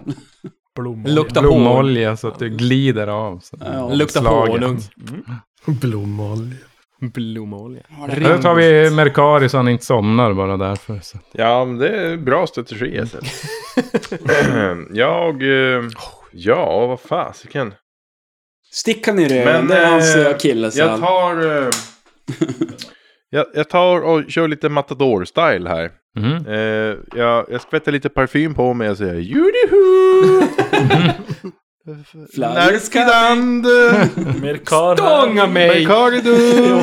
Speaker 5: Blommor.
Speaker 6: Lukta på.
Speaker 2: blommolja så att det glider av. Så.
Speaker 4: Ja.
Speaker 6: Lukta på
Speaker 2: Slaget.
Speaker 6: honung.
Speaker 7: Mm.
Speaker 3: Blomolja.
Speaker 6: Blomolja.
Speaker 2: Nu tar vi Mercari så han inte somnar bara därför. Så.
Speaker 7: Ja, men det är bra strategi. alltså. *clears throat* jag... eh, Ja, vad fasiken.
Speaker 4: Stickan i röven,
Speaker 7: Men,
Speaker 4: det är hans
Speaker 7: eh,
Speaker 4: eh, akilles
Speaker 7: Jag
Speaker 4: jag
Speaker 7: tar... eh, *laughs* Jag, jag tar och kör lite matador-style här.
Speaker 2: Mhm.
Speaker 7: Eh, jag, jag skvätter lite parfym på mig och säger Judihu!
Speaker 4: Flyers
Speaker 7: eh,
Speaker 5: Merkar här.
Speaker 6: Stånga mig!
Speaker 7: Mercaridu!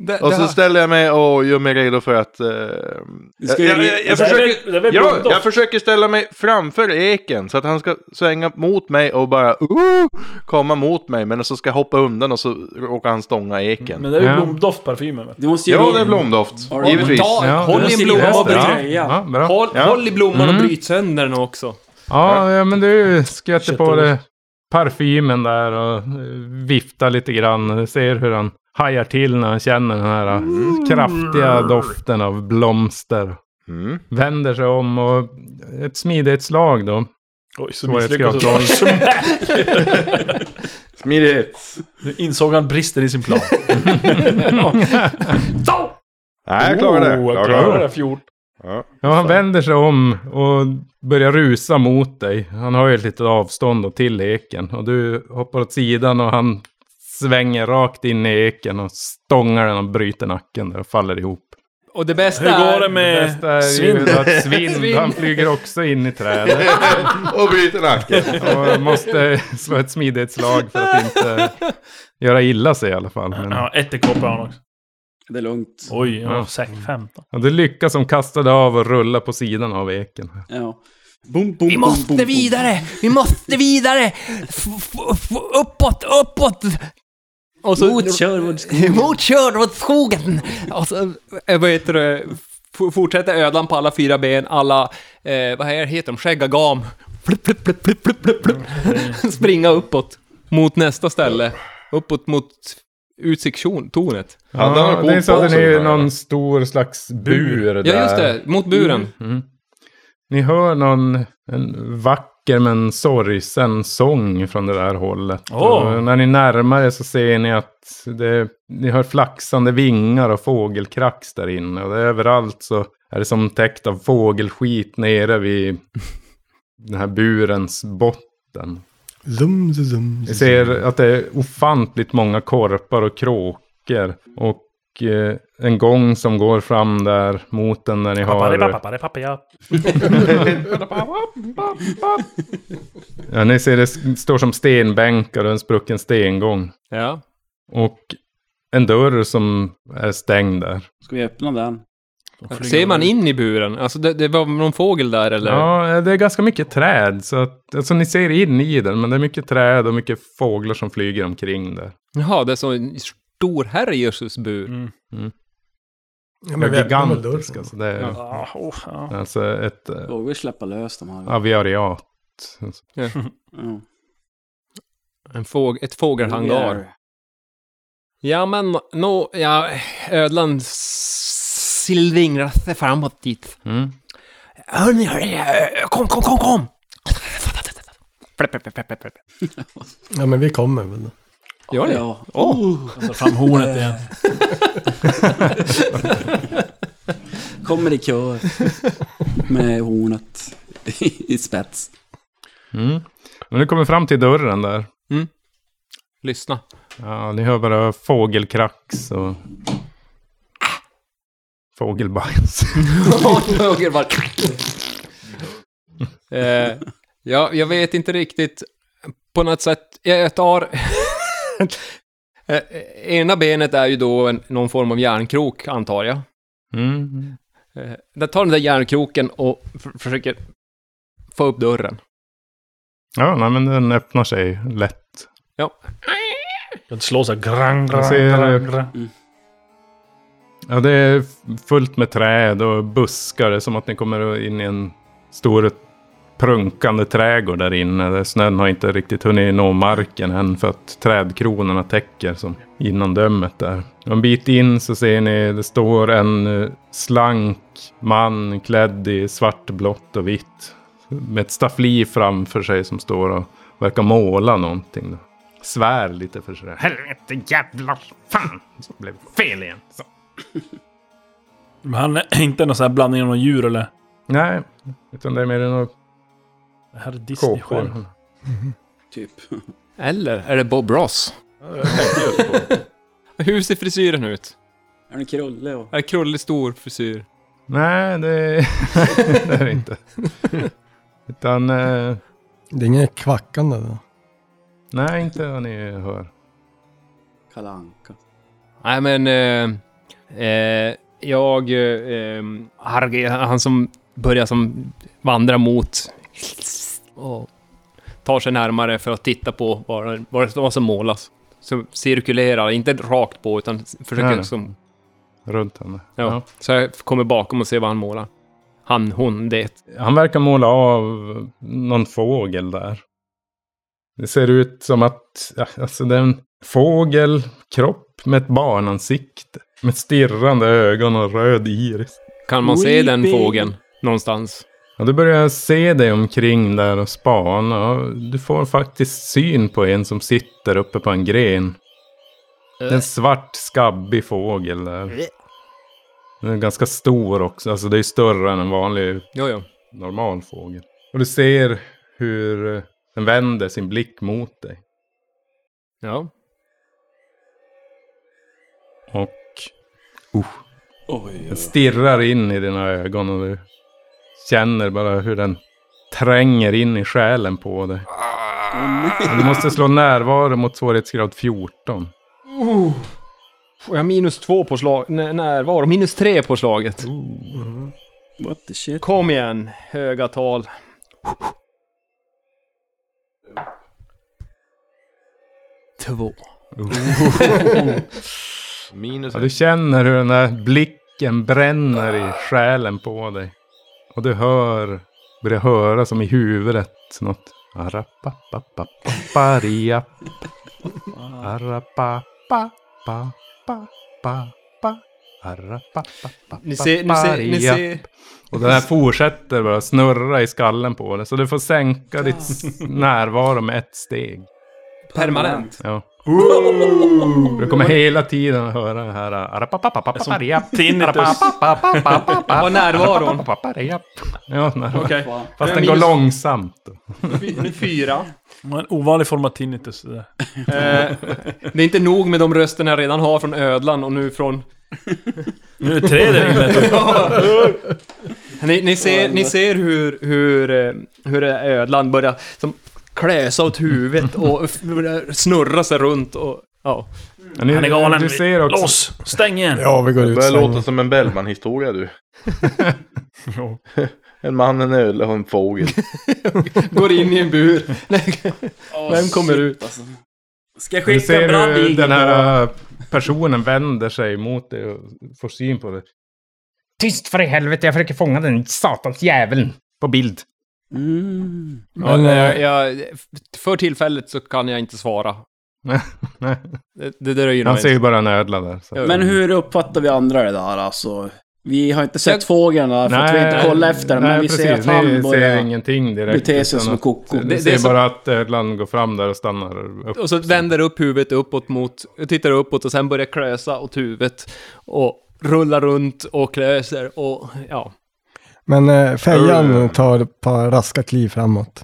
Speaker 6: Det,
Speaker 7: Och
Speaker 6: det
Speaker 7: så
Speaker 6: här-
Speaker 7: ställer jag mig och gör mig redo för att... eh, jag,
Speaker 4: ska ju-
Speaker 7: jag, jag, jag,
Speaker 5: Det är väl-
Speaker 7: försöker,
Speaker 5: det är väl
Speaker 7: ja,
Speaker 5: blomdoft.
Speaker 7: jag försöker ställa mig framför eken så att han ska svänga mot mig och bara uh, komma mot mig. Men så ska jag hoppa undan och så råkar han stånga eken.
Speaker 5: Men det är ju
Speaker 2: Ja.
Speaker 5: blomdoftparfymen. vet du.
Speaker 4: Du måste ju...
Speaker 7: ja, det är blomdoft.
Speaker 4: Har du-
Speaker 7: Givetvis.
Speaker 6: Ta,
Speaker 2: Ja,
Speaker 6: håll i
Speaker 4: det-
Speaker 6: en blomma
Speaker 4: det-
Speaker 6: och bryt.
Speaker 4: Ja.
Speaker 2: Ja, bra.
Speaker 6: Håll,
Speaker 7: Ja.
Speaker 6: håll i blomman och
Speaker 2: Mm.
Speaker 6: bryt sönder den också.
Speaker 2: Ja, ja, men du skvätter på
Speaker 5: Köttor.
Speaker 2: det parfymen där och eh, viftar lite grann. Du Ser hur han hajar till när han känner den här eh,
Speaker 6: Mm.
Speaker 2: kraftiga doften av blomster.
Speaker 7: Mm.
Speaker 2: Vänder sig om och ett smidighetsslag då.
Speaker 5: Oj, så misslyckades
Speaker 2: Svårighetsgrad
Speaker 5: jag.
Speaker 2: 12. *laughs*
Speaker 7: Smidigt.
Speaker 5: Nu insåg han bristen i sin plan.
Speaker 7: Nej, jag klarar det.
Speaker 5: Oh,
Speaker 7: Jag
Speaker 5: jag
Speaker 7: klarar
Speaker 5: klarar
Speaker 7: det.
Speaker 5: det. 14.
Speaker 7: Ja.
Speaker 2: Ja,
Speaker 5: Alltså-
Speaker 2: han vänder sig om och börjar rusa mot dig. Han har ju ett litet avstånd då till eken. Och du hoppar åt sidan och han svänger rakt in i eken och stångar den och bryter nacken där och faller ihop.
Speaker 6: Och det bästa
Speaker 5: Hur går det
Speaker 6: är...
Speaker 2: Det
Speaker 5: med
Speaker 2: bästa är ju
Speaker 5: Eh, *laughs* svinn?
Speaker 2: att Svind, han flyger också in i trädet.
Speaker 7: *laughs* Och bryter nacken.
Speaker 2: Och måste *laughs* slå ett smidighetslag för att inte göra illa sig i alla fall. Men,
Speaker 5: Ja, ett i koppar han också.
Speaker 4: Det är lugnt.
Speaker 5: Oj,
Speaker 2: Ja.
Speaker 5: ja, säkert 15.
Speaker 2: ja, du lyckas som kastade av och rulla på sidan av eken.
Speaker 4: Ja. Boom, boom, boom,
Speaker 8: Vi
Speaker 4: boom,
Speaker 8: måste
Speaker 4: boom.
Speaker 8: vidare! Vi måste vidare! F f- f- uppåt, uppåt! Och så,
Speaker 4: Mot Sherwoodskogen.
Speaker 8: Mot Sherwoodskogen!
Speaker 6: Mm. Och så, eh, vad heter det? F- Fortsätter ödlan på alla fyra ben, alla... Eh, vad här heter de? Skäggagam. Flipp, flipp, flipp, flipp, flipp, flipp,
Speaker 8: Mm.
Speaker 6: flipp. Springa uppåt mot nästa ställe. Uppåt mot utsiktstornet.
Speaker 7: Hade han
Speaker 2: Ja,
Speaker 7: någon
Speaker 2: det är
Speaker 7: god
Speaker 2: så hade
Speaker 7: pose
Speaker 2: ni
Speaker 7: eller?
Speaker 2: ju någon stor slags bur där.
Speaker 6: Ja, just det. Mot buren.
Speaker 2: Mm. Ni hör någon en vacker men sorgsen sång från det där hållet.
Speaker 5: Åh.
Speaker 2: Och när ni närmar er så ser ni att det, ni hör flaxande vingar och fågelkrax där inne. Och överallt så är det som täckt av fågelskit nere vid den här burens botten.
Speaker 3: Zum, zum, zum,
Speaker 2: Vi
Speaker 3: zum.
Speaker 2: ser att det är ofantligt många korpar och kråkor. Och eh, en gång som går fram där mot den där ni har...
Speaker 5: Pappa, pappa, pappa, ja.
Speaker 2: Ja, ni ser det s- står som stenbänkar och en sprucken stengång.
Speaker 6: Ja.
Speaker 2: Och en dörr som är stängd där.
Speaker 4: Ska vi öppna den?
Speaker 6: Ser man in i buren? Alltså, det, det var någon fågel där eller?
Speaker 2: Ja, det är ganska mycket träd. Så att, alltså, ni ser in i den, men det är mycket träd och mycket fåglar som flyger omkring där.
Speaker 6: Jaha, det är så en stor herrejösses bur.
Speaker 3: Ja,
Speaker 2: De
Speaker 3: men
Speaker 2: är
Speaker 3: vi öppnar väl
Speaker 2: gigantisk.
Speaker 3: dörren.
Speaker 2: Alltså, det är
Speaker 5: Ah, oh, ja.
Speaker 2: alltså ett eh,
Speaker 4: Vågar vi släppa lös de här?
Speaker 2: aviariat. Alltså,
Speaker 4: Ja.
Speaker 6: En fåg, ett fågelhangar. Ja, men nå, ja, ödlan s- silvingrar sig framåt dit.
Speaker 2: Mm.
Speaker 6: Hörni, hörni, eh, kom, kom, kom, kom!
Speaker 3: Ja, men vi kommer väl. då.
Speaker 6: Gör ni?
Speaker 4: Ja.
Speaker 5: Ta fram hornet igen.
Speaker 4: *laughs* Kommer i kör. Med hornet i spets.
Speaker 2: Mm. Men ni kommer fram till dörren där.
Speaker 6: Lyssna.
Speaker 2: Ja, ni hör bara fågelkrax och...
Speaker 3: Ah!
Speaker 2: Fågelbajs.
Speaker 6: Höger bara... eh, ja, jag vet inte riktigt. På något sätt, jag tar... *laughs* Eh, Ena benet är ju då en, någon form av järnkrok, antar jag.
Speaker 2: Mm.
Speaker 6: Eh, Jag tar den där järnkroken och f- försöker få upp dörren.
Speaker 2: Ja, nej, men den öppnar sig lätt.
Speaker 5: Den slår så här grang, grang,
Speaker 2: Jag ser-
Speaker 5: grang, grang.
Speaker 2: Ja, det är f- fullt med träd och buskar. Det är som att ni kommer in i en stor prunkande trädgård där inne. Där snön har inte riktigt hunnit nå marken än för att trädkronorna täcker som innan dömet där. Och en bit in så ser ni det står en eh, slank man klädd i svart, blått och vitt. Med ett staffli framför sig som står och verkar måla någonting. Då. Svär lite för sig. Helvete jävlar fan! Det blev fel igen. Så.
Speaker 5: Men han är *clears throat* inte någon sån här blandning av någon djur eller?
Speaker 2: Nej, utan det är mer en
Speaker 5: Det här är Disney själv.
Speaker 2: kåkor.
Speaker 4: Typ.
Speaker 6: Eller är det Bob Ross? Hur ser frisyren ut?
Speaker 4: Är det Krulle och...
Speaker 6: Är krullig stor frisyr?
Speaker 2: Nej, det, *laughs* det är det inte. Utan, eh,
Speaker 3: Det är inget kvackande då.
Speaker 2: nej, inte vad ni hör.
Speaker 4: Kalle Anka.
Speaker 6: Nej men... Eh, eh, jag... eh, Eh, Harge, han som börjar som vandra mot... Och tar sig närmare för att titta på vad, vad vad som målas. Så cirkulerar, inte rakt på utan
Speaker 2: Nej,
Speaker 6: försöker liksom
Speaker 2: nej.
Speaker 6: som...
Speaker 2: Runt henne.
Speaker 6: Ja. Så jag kommer bakom och ser vad han målar. Han, hon, det.
Speaker 2: Han verkar måla av någon fågel där. Det ser ut som att, ja, alltså det är en fågel, kropp med ett barnansikte. Med stirrande ögon och röd iris.
Speaker 6: Kan man se den
Speaker 4: Weeping.
Speaker 6: fågeln någonstans?
Speaker 2: Ja, du börjar se dig omkring där och spana. Och Du får faktiskt syn på en som sitter uppe på en gren. Det är En svart skabbig fågel där. Den är ganska stor också. Alltså det är större än en vanlig
Speaker 6: Jo, jo.
Speaker 2: normal fågel. Och du ser hur eh, den vänder sin blick mot dig.
Speaker 6: Ja.
Speaker 2: Och
Speaker 4: Oj,
Speaker 2: den stirrar in i dina ögon och du känner bara hur den tränger in i själen på dig. Du måste slå närvaro mot svårighetsgrad 14.
Speaker 6: Får jag minus två på slaget? Närvaro. Minus tre på slaget.
Speaker 4: what the shit.
Speaker 6: Kom igen, höga tal. Två.
Speaker 7: Minus
Speaker 2: Ja, du känner hur den där blicken bränner i själen på dig. Och du hör, börjar höra som i huvudet något, något. Arapapapaparia. Arapapapapapa.
Speaker 8: Ni ser, ni ser, ni ser.
Speaker 2: Och den här fortsätter bara snurra i skallen på dig. Så du får sänka ditt s- närvaro med ett steg.
Speaker 8: Permanent.
Speaker 2: Ja. Du kommer hela tiden att höra den här... äh, arapapapapaparia, arapapapapapaparia, *laughs*
Speaker 8: Var närvaron.
Speaker 2: arapapapaparia. Ja, närvaro.
Speaker 8: Okej.
Speaker 2: Fast den går långsamt.
Speaker 8: långt. Fyra.
Speaker 5: En ovanlig form av tinnitus. det där.
Speaker 6: Eh, det är inte nog med de rösterna jag redan har från ödlan och nu från...
Speaker 5: Nu är det tre där
Speaker 2: *laughs*
Speaker 5: inne.
Speaker 6: Ni, ni ser, ni ser hur, hur, eh, hur det är ödlan börjar som klösa åt huvudet och f- börjar snurra sig runt och... Ja.
Speaker 2: Men nu-
Speaker 5: Han är galen.
Speaker 2: Du ser också...
Speaker 5: Loss! Stäng
Speaker 2: *laughs*
Speaker 5: igen!
Speaker 3: Ja, vi går
Speaker 7: Det
Speaker 3: ut
Speaker 7: börjar
Speaker 3: sen.
Speaker 7: låta som en Bellman-historia du. *laughs* en man, en öl och en fågel.
Speaker 6: Går in i en *laughs* bur. Vem kommer ut?
Speaker 4: Alltså. Ska jag
Speaker 2: Du
Speaker 4: skicka
Speaker 2: ser
Speaker 4: en
Speaker 2: hur
Speaker 4: brand
Speaker 2: den här äh, personen vänder sig mot dig och får syn på dig. Tyst för i helvete, jag försöker fånga den satans jäveln på bild.
Speaker 4: Mm.
Speaker 6: Men, eh, jag, för tillfället så kan jag inte svara.
Speaker 2: Nej,
Speaker 6: Det, det dröjer nog
Speaker 2: han
Speaker 6: en
Speaker 2: ser ju bara en ödla där. Så.
Speaker 4: Men hur uppfattar vi andra det där alltså? Vi har inte sett
Speaker 6: Jag-
Speaker 4: fågeln där, för att vi inte kollar efter den. Men vi ser att han
Speaker 2: Ni ser
Speaker 4: börjar
Speaker 2: ingenting direkt.
Speaker 4: bete sig
Speaker 2: utan
Speaker 4: som en
Speaker 2: att-
Speaker 4: koko.
Speaker 2: Ni
Speaker 6: Det-
Speaker 2: ser
Speaker 6: det är som-
Speaker 2: bara att ödlan går fram där och stannar upp.
Speaker 6: Och så vänder upp huvudet uppåt mot, tittar uppåt och sen börjar klösa åt huvudet. Och rullar runt och klöser och ja.
Speaker 3: Men eh,
Speaker 2: Ur.
Speaker 3: fejan tar ett par raska kliv framåt.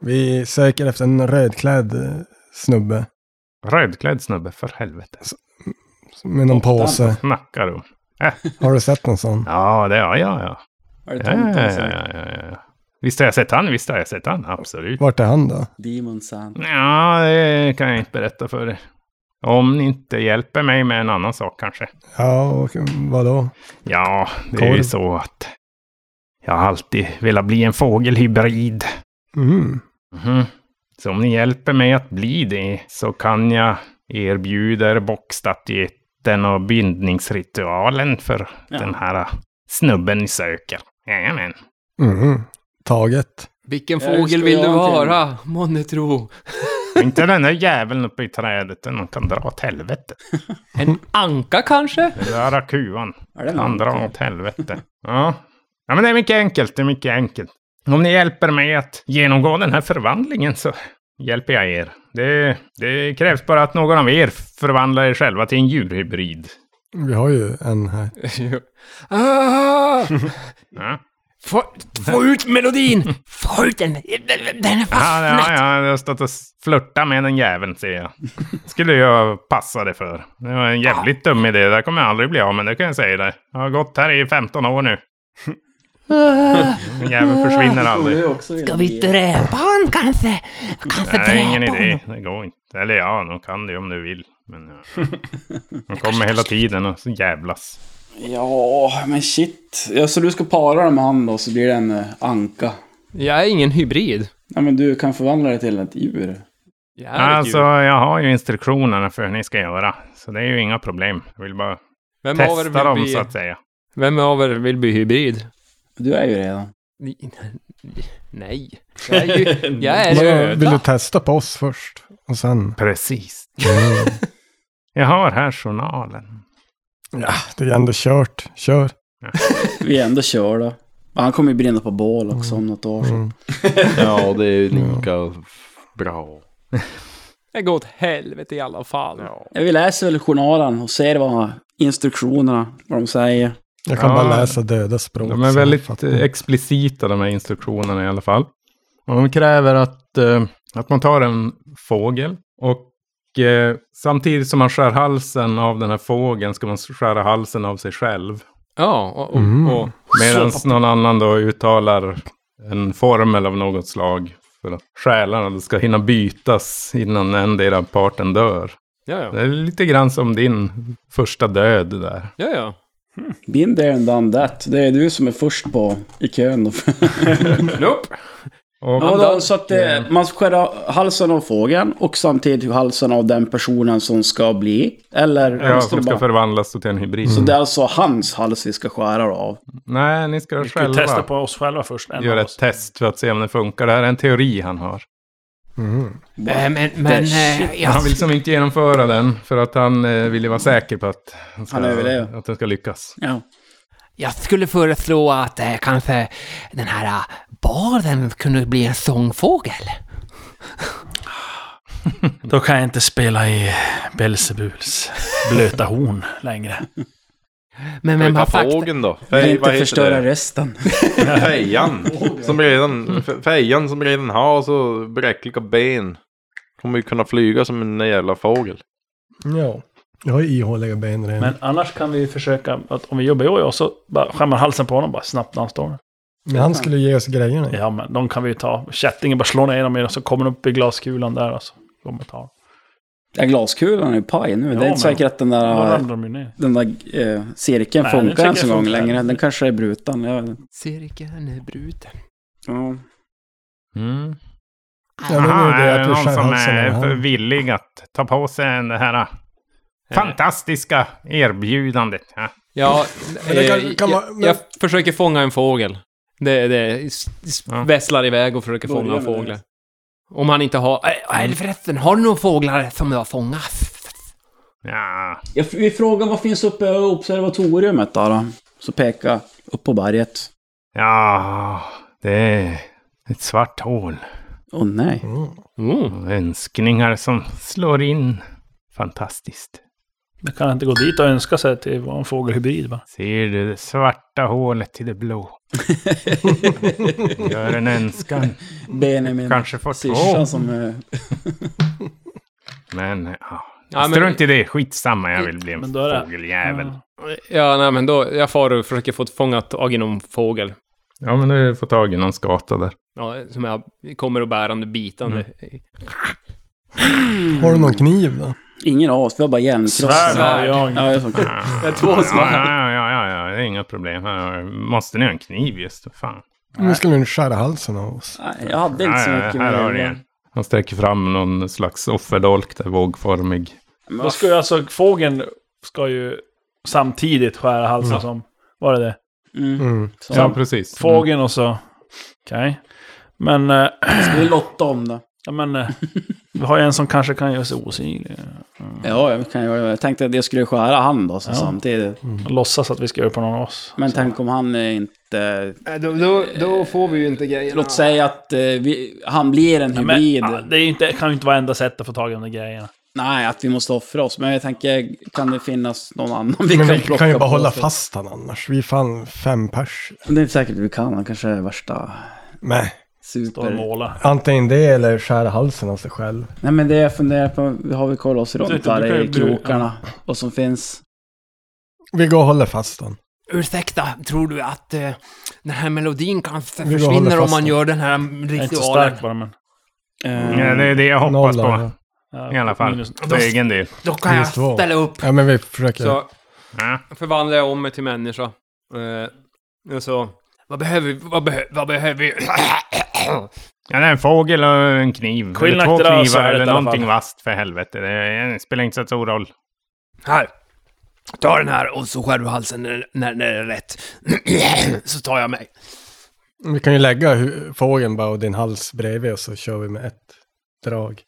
Speaker 3: Vi söker efter en rödklädd eh, snubbe
Speaker 2: Rödklädd snubbe, för helvete.
Speaker 3: med någon påse.
Speaker 2: Snackar du om?
Speaker 3: Har du sett en sån?
Speaker 2: Ja, det har jag, ja.
Speaker 4: Är det
Speaker 2: Ja, ja,
Speaker 4: tomten
Speaker 2: ja,
Speaker 4: som-
Speaker 2: ja, ja, ja. Visst har jag sett han, visst har jag sett han, absolut.
Speaker 3: Vart är han då?
Speaker 4: Demon Sand.
Speaker 2: Ja, det kan jag inte berätta för er. Om ni inte hjälper mig med en annan sak kanske.
Speaker 3: Ja, och eh, vadå?
Speaker 2: Ja, det är ju
Speaker 3: Korv.
Speaker 2: så att jag har alltid velat bli en fågelhybrid.
Speaker 3: Mm.
Speaker 2: Mhm. Så om ni hjälper mig att bli det så kan jag erbjuda er bockstatyetten och bindningsritualen för
Speaker 4: Ja.
Speaker 2: den här snubben ni söker. Jajamän.
Speaker 3: Mhm. Taget.
Speaker 6: Vilken
Speaker 4: Ja, just
Speaker 6: fågel
Speaker 4: det,
Speaker 6: vill
Speaker 4: jag
Speaker 6: du
Speaker 4: har en till.
Speaker 6: vara? Månne tro.
Speaker 2: Och Inte den där jäveln uppe i trädet, den kan dra åt helvete.
Speaker 6: En anka kanske?
Speaker 2: Den där kuvan.
Speaker 4: Är det någon?
Speaker 2: Andra åt helvete. Ja. ja, men det är mycket enkelt. Det är mycket enkelt. Om ni hjälper mig att genomgå den här förvandlingen så hjälper jag er. Det, det krävs bara att någon av er förvandlar er själva till en djurhybrid.
Speaker 3: Vi har ju en här.
Speaker 6: ah,
Speaker 2: Ja,
Speaker 6: få, få ut melodin! Få ut den! Den är
Speaker 2: ja,
Speaker 6: fast!
Speaker 2: ja, ja jag har stått och flörtat med den jäveln, ser jag. skulle jag passa det för. Det var en jävligt dum idé. Det där kommer jag aldrig bli av med, det kan jag säga dig. Jag har gått här i 15 år nu. Den jäveln försvinner aldrig.
Speaker 4: Ska vi dö?
Speaker 8: eh,
Speaker 9: dräpa honom kanske? Kanske
Speaker 2: Nej, ingen idé. Det går inte. Eller ja, de kan det om du vill. Men
Speaker 6: *laughs*
Speaker 2: ja. De kommer hela tiden och så jävlas.
Speaker 4: Ja, men shit. Ja, så du ska para dem med han då, så blir det en eh, anka.
Speaker 6: Jag är ingen hybrid.
Speaker 4: Nej, men du kan förvandla dig till ett djur.
Speaker 6: Jag är ett
Speaker 2: Alltså,
Speaker 6: djur.
Speaker 2: jag har ju instruktionerna för hur ni ska göra. Så det är ju inga problem. Jag vill bara
Speaker 6: vem, av er
Speaker 2: testa dem,
Speaker 6: vill bli,
Speaker 2: så att säga.
Speaker 6: vem av er vill bli hybrid?
Speaker 4: Du är ju redan.
Speaker 6: Ni- *laughs* Nej. Jag är ju...
Speaker 5: *laughs*
Speaker 6: Jag är ju
Speaker 3: Vadå, Vill du
Speaker 6: ödla.
Speaker 3: testa på oss först? Och sen?
Speaker 2: Precis. Jag har här journalen.
Speaker 3: Ja, det är ändå kört. Kör.
Speaker 4: Vi är ändå kör då. Han kommer ju brinna på bål också om något år.
Speaker 3: Mm.
Speaker 7: *laughs* ja, det är lika bra.
Speaker 6: Jag går åt helvete i alla fall.
Speaker 4: Ja, vi läser väl journalen och ser vad instruktionerna, vad de säger.
Speaker 3: Jag kan
Speaker 2: Ja.
Speaker 3: bara läsa döda språk.
Speaker 2: De är
Speaker 3: så jag
Speaker 2: väldigt
Speaker 3: fattar.
Speaker 2: eh, explicita, de här instruktionerna i alla fall. Och de kräver att, eh, att man tar en fågel och eh, samtidigt som man skär halsen av den här fågeln ska man skära halsen av sig själv.
Speaker 6: Ja, och, och,
Speaker 3: Mm.
Speaker 6: och
Speaker 2: Medan någon annan då uttalar en formel av något slag. För att själarna då ska hinna bytas innan endera parten dör.
Speaker 6: Ja, ja.
Speaker 2: Det är lite grann som din första död där.
Speaker 6: ja, ja.
Speaker 4: *laughs* Been there and done that. Det är du som är först på i kön. då.
Speaker 6: Nope.
Speaker 2: Och
Speaker 4: Ja, då, så att eh, man skär halsen av fågeln och samtidigt halsen av den personen som ska bli. Eller...
Speaker 2: ja, som ska förvandlas till en hybrid. Mm.
Speaker 4: Så det är alltså hans hals vi ska skära av.
Speaker 2: Nej, ni ska
Speaker 5: Vi ska ju
Speaker 2: själva
Speaker 5: testa på oss själva först. en
Speaker 2: göra
Speaker 5: av
Speaker 2: ett
Speaker 5: oss.
Speaker 2: test för att se om det funkar. Det här är en teori han har.
Speaker 3: Mhm.
Speaker 4: Ehm,
Speaker 8: Eh, men men eh,
Speaker 2: Men
Speaker 8: jag,
Speaker 2: han vill liksom inte genomföra den för att han eh, vill ju vara säker på att, han ska,
Speaker 4: Han överlever.
Speaker 2: att den ska lyckas.
Speaker 4: Ja.
Speaker 8: jag skulle föreslå att eh, kanske den här eh, barden kunde bli en sångfågel.
Speaker 5: Då kan jag inte spela i Belzebuls blöta horn längre.
Speaker 7: Ska
Speaker 8: Men
Speaker 7: vi
Speaker 8: vem har
Speaker 7: ta
Speaker 8: fakta?
Speaker 7: fågeln då?
Speaker 4: Jag
Speaker 7: Fej,
Speaker 4: inte
Speaker 7: vad heter
Speaker 4: förstöra
Speaker 7: det?
Speaker 4: resten.
Speaker 7: *laughs* Fejan. Som redan, fe- fejan som redan har så bräckliga ben. Kommer ju kunna flyga som en jävla fågel.
Speaker 3: Ja. Jag har ju ihåliga ben redan.
Speaker 5: Men annars kan vi försöka att om vi jobbar jag och jag så bara skär man halsen på honom bara snabbt när han står där.
Speaker 3: Men han skulle ge oss grejerna.
Speaker 5: Ja men de kan vi ju ta. Kättingen bara slår ner dem i och så kommer de upp i glaskulan där alltså. och så kommer vi ta dem.
Speaker 4: Ja, glaskulan är ju paj nu.
Speaker 5: Ja,
Speaker 4: det är
Speaker 5: men-
Speaker 4: inte säkert att den
Speaker 5: Då
Speaker 4: där,
Speaker 5: ramlar de ju ner.
Speaker 4: den där eh, cirkeln
Speaker 5: Nej, den
Speaker 4: funkar ens en
Speaker 5: cirkeln
Speaker 4: gång
Speaker 5: funkar.
Speaker 4: längre. Den kanske är bruten. Jag, vet inte.
Speaker 8: Cirkeln är bruten.
Speaker 4: ja.
Speaker 2: Mm.
Speaker 3: Ja, men
Speaker 2: Aha,
Speaker 3: det är det
Speaker 2: är
Speaker 3: att
Speaker 2: det
Speaker 3: du
Speaker 2: någon
Speaker 3: skär
Speaker 2: som
Speaker 3: halsen av
Speaker 2: är
Speaker 3: han.
Speaker 2: för villig att ta på sig den här eh, fantastiska erbjudandet? Ja.
Speaker 6: Ja,
Speaker 3: Men det kan-
Speaker 6: eh, jag,
Speaker 3: kan man- men-
Speaker 6: jag försöker fånga en fågel. Det, det s- s-
Speaker 2: Ja.
Speaker 6: vässlar iväg och försöker
Speaker 4: Börja
Speaker 6: fånga en
Speaker 4: med
Speaker 6: fågel.
Speaker 4: det.
Speaker 6: Om han inte har...
Speaker 8: Äh, eller förresten, har du några fåglar som du har fångat?
Speaker 2: Ja.
Speaker 4: Jag, vi frågar vad finns uppe i observatoriumet då? då? Så peka upp på berget.
Speaker 2: ja, det är ett svart hål.
Speaker 4: Åh nej.
Speaker 3: Mm.
Speaker 2: Och önskningar som slår in. Fantastiskt.
Speaker 5: Det kan inte gå dit och önska sig till vara en fågelhybrid va?
Speaker 2: Ser du det svarta hålet till det blå? Gör en önskan.
Speaker 4: *laughs* Benjamin.
Speaker 2: Kanske får
Speaker 4: Syrsan
Speaker 2: två.
Speaker 4: som... eh,
Speaker 2: Men ja.
Speaker 6: Ja, men-
Speaker 2: Strunt i det. Skitsamma. Jag vill bli en
Speaker 5: Men då är det-
Speaker 2: fågeljävel.
Speaker 5: Ja.
Speaker 6: Ja, nej men då... Jag far och försöker få fånga tag i någon fågel.
Speaker 2: Ja, men du får tag i någon skata där.
Speaker 6: Ja, som jag kommer och bärande bitande.
Speaker 3: Har du någon kniv då?
Speaker 4: Ingen av oss, vi har bara järnkrossar.
Speaker 5: Svärd har jag.
Speaker 4: Ja, jag är så kul.
Speaker 2: Jag två små. Ja, ja, ja, ja, ja, det är inga problem. Här, Måste ni ha en kniv just? Vad Fan.
Speaker 3: Nu skulle du skära halsen av oss.
Speaker 4: Nej, Jag hade inte så
Speaker 2: Ja, ja,
Speaker 4: mycket
Speaker 2: här har ni
Speaker 4: det.
Speaker 2: en. Han sträcker fram någon slags offerdolk där, vågformig.
Speaker 4: Men
Speaker 5: Då
Speaker 4: vad
Speaker 5: ska ju alltså fågeln ska ju samtidigt skära halsen som... Var det det?
Speaker 4: Mm.
Speaker 3: Mm.
Speaker 4: Så.
Speaker 2: Ja, precis. Mm.
Speaker 5: Fågeln och så... Okej. Men... eh,
Speaker 4: Ska vi lotta om det?
Speaker 5: Ja men... eh, Vi har ju en som kanske kan göra sig osynlig.
Speaker 2: Mm.
Speaker 4: Ja, jag kan göra det. Jag tänkte att jag skulle skära han då så
Speaker 5: Ja.
Speaker 4: samtidigt.
Speaker 5: Och Låtsas att vi ska göra på någon av oss.
Speaker 4: Men tänk om han är inte...
Speaker 8: Då, då, då får vi ju inte grejerna.
Speaker 4: Låt säga att eh, vi, han blir en
Speaker 5: Men,
Speaker 4: hybrid.
Speaker 5: ah, det är ju inte, kan ju inte vara enda sättet att få tag i de där grejerna.
Speaker 4: Nej, att vi måste offra oss. Men jag tänker, kan det finnas någon annan vi
Speaker 3: Men
Speaker 4: kan
Speaker 3: vi
Speaker 4: plocka
Speaker 3: kan ju
Speaker 4: på
Speaker 3: bara hålla
Speaker 4: oss?
Speaker 3: fast han annars. Vi är fan fem pers.
Speaker 4: Det är inte säkert vi kan. Han kanske är värsta
Speaker 3: Nej.
Speaker 5: Stå och
Speaker 4: super...
Speaker 5: måla.
Speaker 3: Antingen det eller skära halsen av sig själv.
Speaker 4: Nej, men det jag funderar på, har vi kollat oss runt
Speaker 5: Tänkte, du kan
Speaker 4: här
Speaker 5: ju
Speaker 4: i
Speaker 5: bli-
Speaker 4: krokarna? Och som finns...
Speaker 3: Vi går och håller fast han.
Speaker 8: Ursäkta, tror du att eh, den här melodin kanske
Speaker 3: Vi håller
Speaker 8: försvinner
Speaker 3: fast
Speaker 8: om man
Speaker 3: den.
Speaker 8: gör den här
Speaker 5: Jag är inte så
Speaker 8: ritualen?
Speaker 5: stark bara men...
Speaker 4: Eh,
Speaker 2: Mm. Ja, det är det jag
Speaker 3: Mm.
Speaker 2: hoppas
Speaker 3: Nollan,
Speaker 2: på.
Speaker 3: ja.
Speaker 5: ja,
Speaker 2: I alla fall.
Speaker 5: minus-
Speaker 2: För egen del.
Speaker 8: Då kan jag
Speaker 3: Minus två.
Speaker 8: ställa upp.
Speaker 3: Ja men vi försöker.
Speaker 6: Så
Speaker 2: Ja.
Speaker 6: förvandlar jag om mig till människa. Eh, och så... Vad behöver vi? Vad, behö, vad behöver vi?
Speaker 2: Ja, det är en fågel och en kniv.
Speaker 5: Skillnad
Speaker 2: eller två
Speaker 5: till det här
Speaker 2: knivar
Speaker 5: svärdet i
Speaker 2: eller
Speaker 5: alla fall.
Speaker 2: någonting vasst för helvete. Det det spelar inte så stor roll.
Speaker 8: Här. Ta den här och så skär du halsen när, när, när det är rätt. *clears throat* så tar jag mig.
Speaker 3: Vi kan ju lägga hu- fågeln bara och din hals bredvid och så kör vi med ett drag.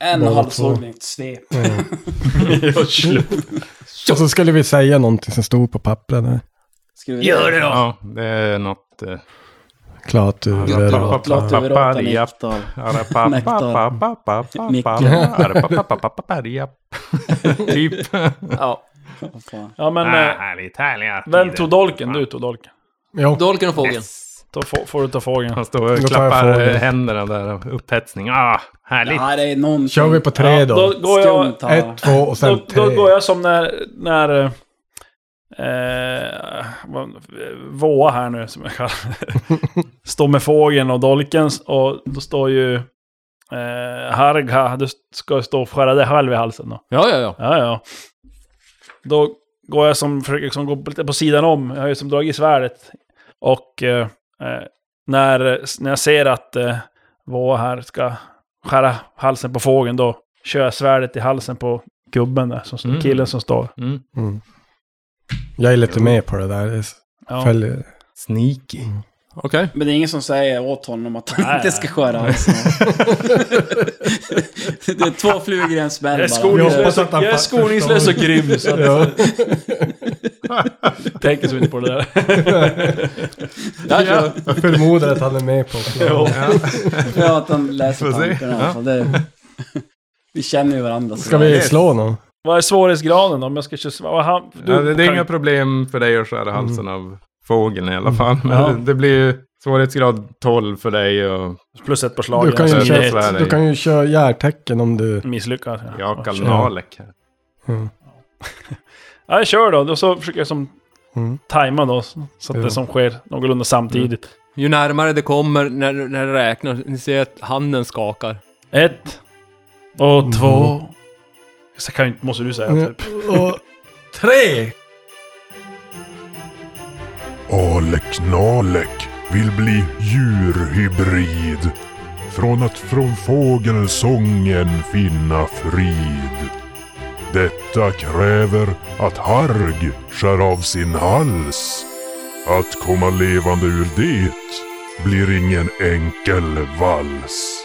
Speaker 4: en
Speaker 3: Båda
Speaker 4: halshuggning, ett svep.
Speaker 3: *laughs* Och så skulle vi säga någonting som stod på pappret. där.
Speaker 4: Ska vi-
Speaker 8: Gör det då!
Speaker 2: Ja, det är något... eh,
Speaker 3: Klart du vill ha.
Speaker 4: Låt över åtta
Speaker 2: Paparia.
Speaker 4: nektar.
Speaker 5: *laughs*
Speaker 2: Typ.
Speaker 8: Ja.
Speaker 4: Vad fan.
Speaker 5: Ja
Speaker 2: Ah,
Speaker 5: men... eh,
Speaker 2: Härligt, härliga
Speaker 5: Vem
Speaker 2: tider.
Speaker 5: tog dolken? Du tog dolken.
Speaker 3: Ja,
Speaker 8: Dolken och fågeln.
Speaker 5: Då får, får du ta fågeln.
Speaker 2: Han står och
Speaker 3: Då tar jag
Speaker 2: klappar
Speaker 3: fågeln.
Speaker 2: eh, händerna där av upphetsning. Ah, härligt.
Speaker 4: Ja, det är någon
Speaker 3: kör vi på tre
Speaker 5: Ja,
Speaker 3: då.
Speaker 5: Då går jag...
Speaker 4: skumt här.
Speaker 3: Ett, två och
Speaker 5: Då,
Speaker 3: sen tre.
Speaker 5: då går jag som när... när eh, Eh, vad- Våa här nu som jag kallar det.
Speaker 3: *laughs*
Speaker 5: Står med fågeln och dolken och då står ju eh, Harga, du ska ju stå och skära dig själv i halsen då.
Speaker 6: Ja, ja, ja.
Speaker 5: Ja, ja. Då går jag som, försöker liksom gå på- lite på sidan om. Jag har ju som dragit svärdet. Och eh, eh, när, när jag ser att eh, Våa här ska skära halsen på fågeln, då kör jag svärdet i halsen på gubben där, som,
Speaker 2: Mm.
Speaker 5: killen som står.
Speaker 2: Mm.
Speaker 3: Mm. Jag är lite med på det där. Jag s-
Speaker 5: Ja.
Speaker 3: följer. Mm.
Speaker 2: Sneaky.
Speaker 6: Okej.
Speaker 4: Men det är ingen som säger åt honom att han
Speaker 5: Nej,
Speaker 4: inte
Speaker 5: nej.
Speaker 4: ska skära halsen. det är två flugor i en smäll
Speaker 5: Jag är
Speaker 4: bara.
Speaker 3: Jag hoppas
Speaker 5: skoningslös,
Speaker 3: att han
Speaker 5: jag är
Speaker 3: fa-
Speaker 5: skoningslös och
Speaker 3: förstår.
Speaker 5: grym, så att,
Speaker 3: Ja.
Speaker 5: *laughs* tänker så inte på det där.
Speaker 4: Jag tror-
Speaker 3: Jag förmodar att han
Speaker 5: *laughs*
Speaker 3: är med på planen.
Speaker 4: Ja, att han läser
Speaker 2: Får se.
Speaker 4: tankarna. Alltså, det, vi känner ju varandra. Så
Speaker 3: Ska vi slå någon?
Speaker 5: Vad är svårighetsgraden då? Om jag ska köra svär- vad han, du,
Speaker 2: ja, det, det är
Speaker 5: kan-
Speaker 2: inga problem för dig att skära halsen av fågeln i alla fall. Men
Speaker 5: Mm. Ja.
Speaker 2: det, det blir ju svårighetsgrad 12 för dig och
Speaker 5: Plus ett på
Speaker 3: Du
Speaker 5: slagen.
Speaker 3: kan, ju
Speaker 5: alltså, det är
Speaker 2: svär
Speaker 3: köra,
Speaker 2: dig.
Speaker 3: du kan ju köra järtecken om du...
Speaker 5: ett Misslyckad. ja.
Speaker 2: Jakal Nalek. här.
Speaker 5: Ja, jag kör då. Och så försöker jag som
Speaker 3: Mm.
Speaker 5: tajma då. Så att
Speaker 3: Ja.
Speaker 5: det som sker någorlunda samtidigt.
Speaker 6: Ju närmare det kommer när, när det räknar, ni ser att handen skakar.
Speaker 3: Mm.
Speaker 5: Ett. Och två. Så kan ju inte, måste du säga
Speaker 3: Mm.
Speaker 5: typ.
Speaker 3: Och tre!
Speaker 1: Alek Nalek vill bli djurhybrid. Från att från fågelsången finna frid. Detta kräver att Harg skär av sin hals. Att komma levande ur det blir ingen enkel vals.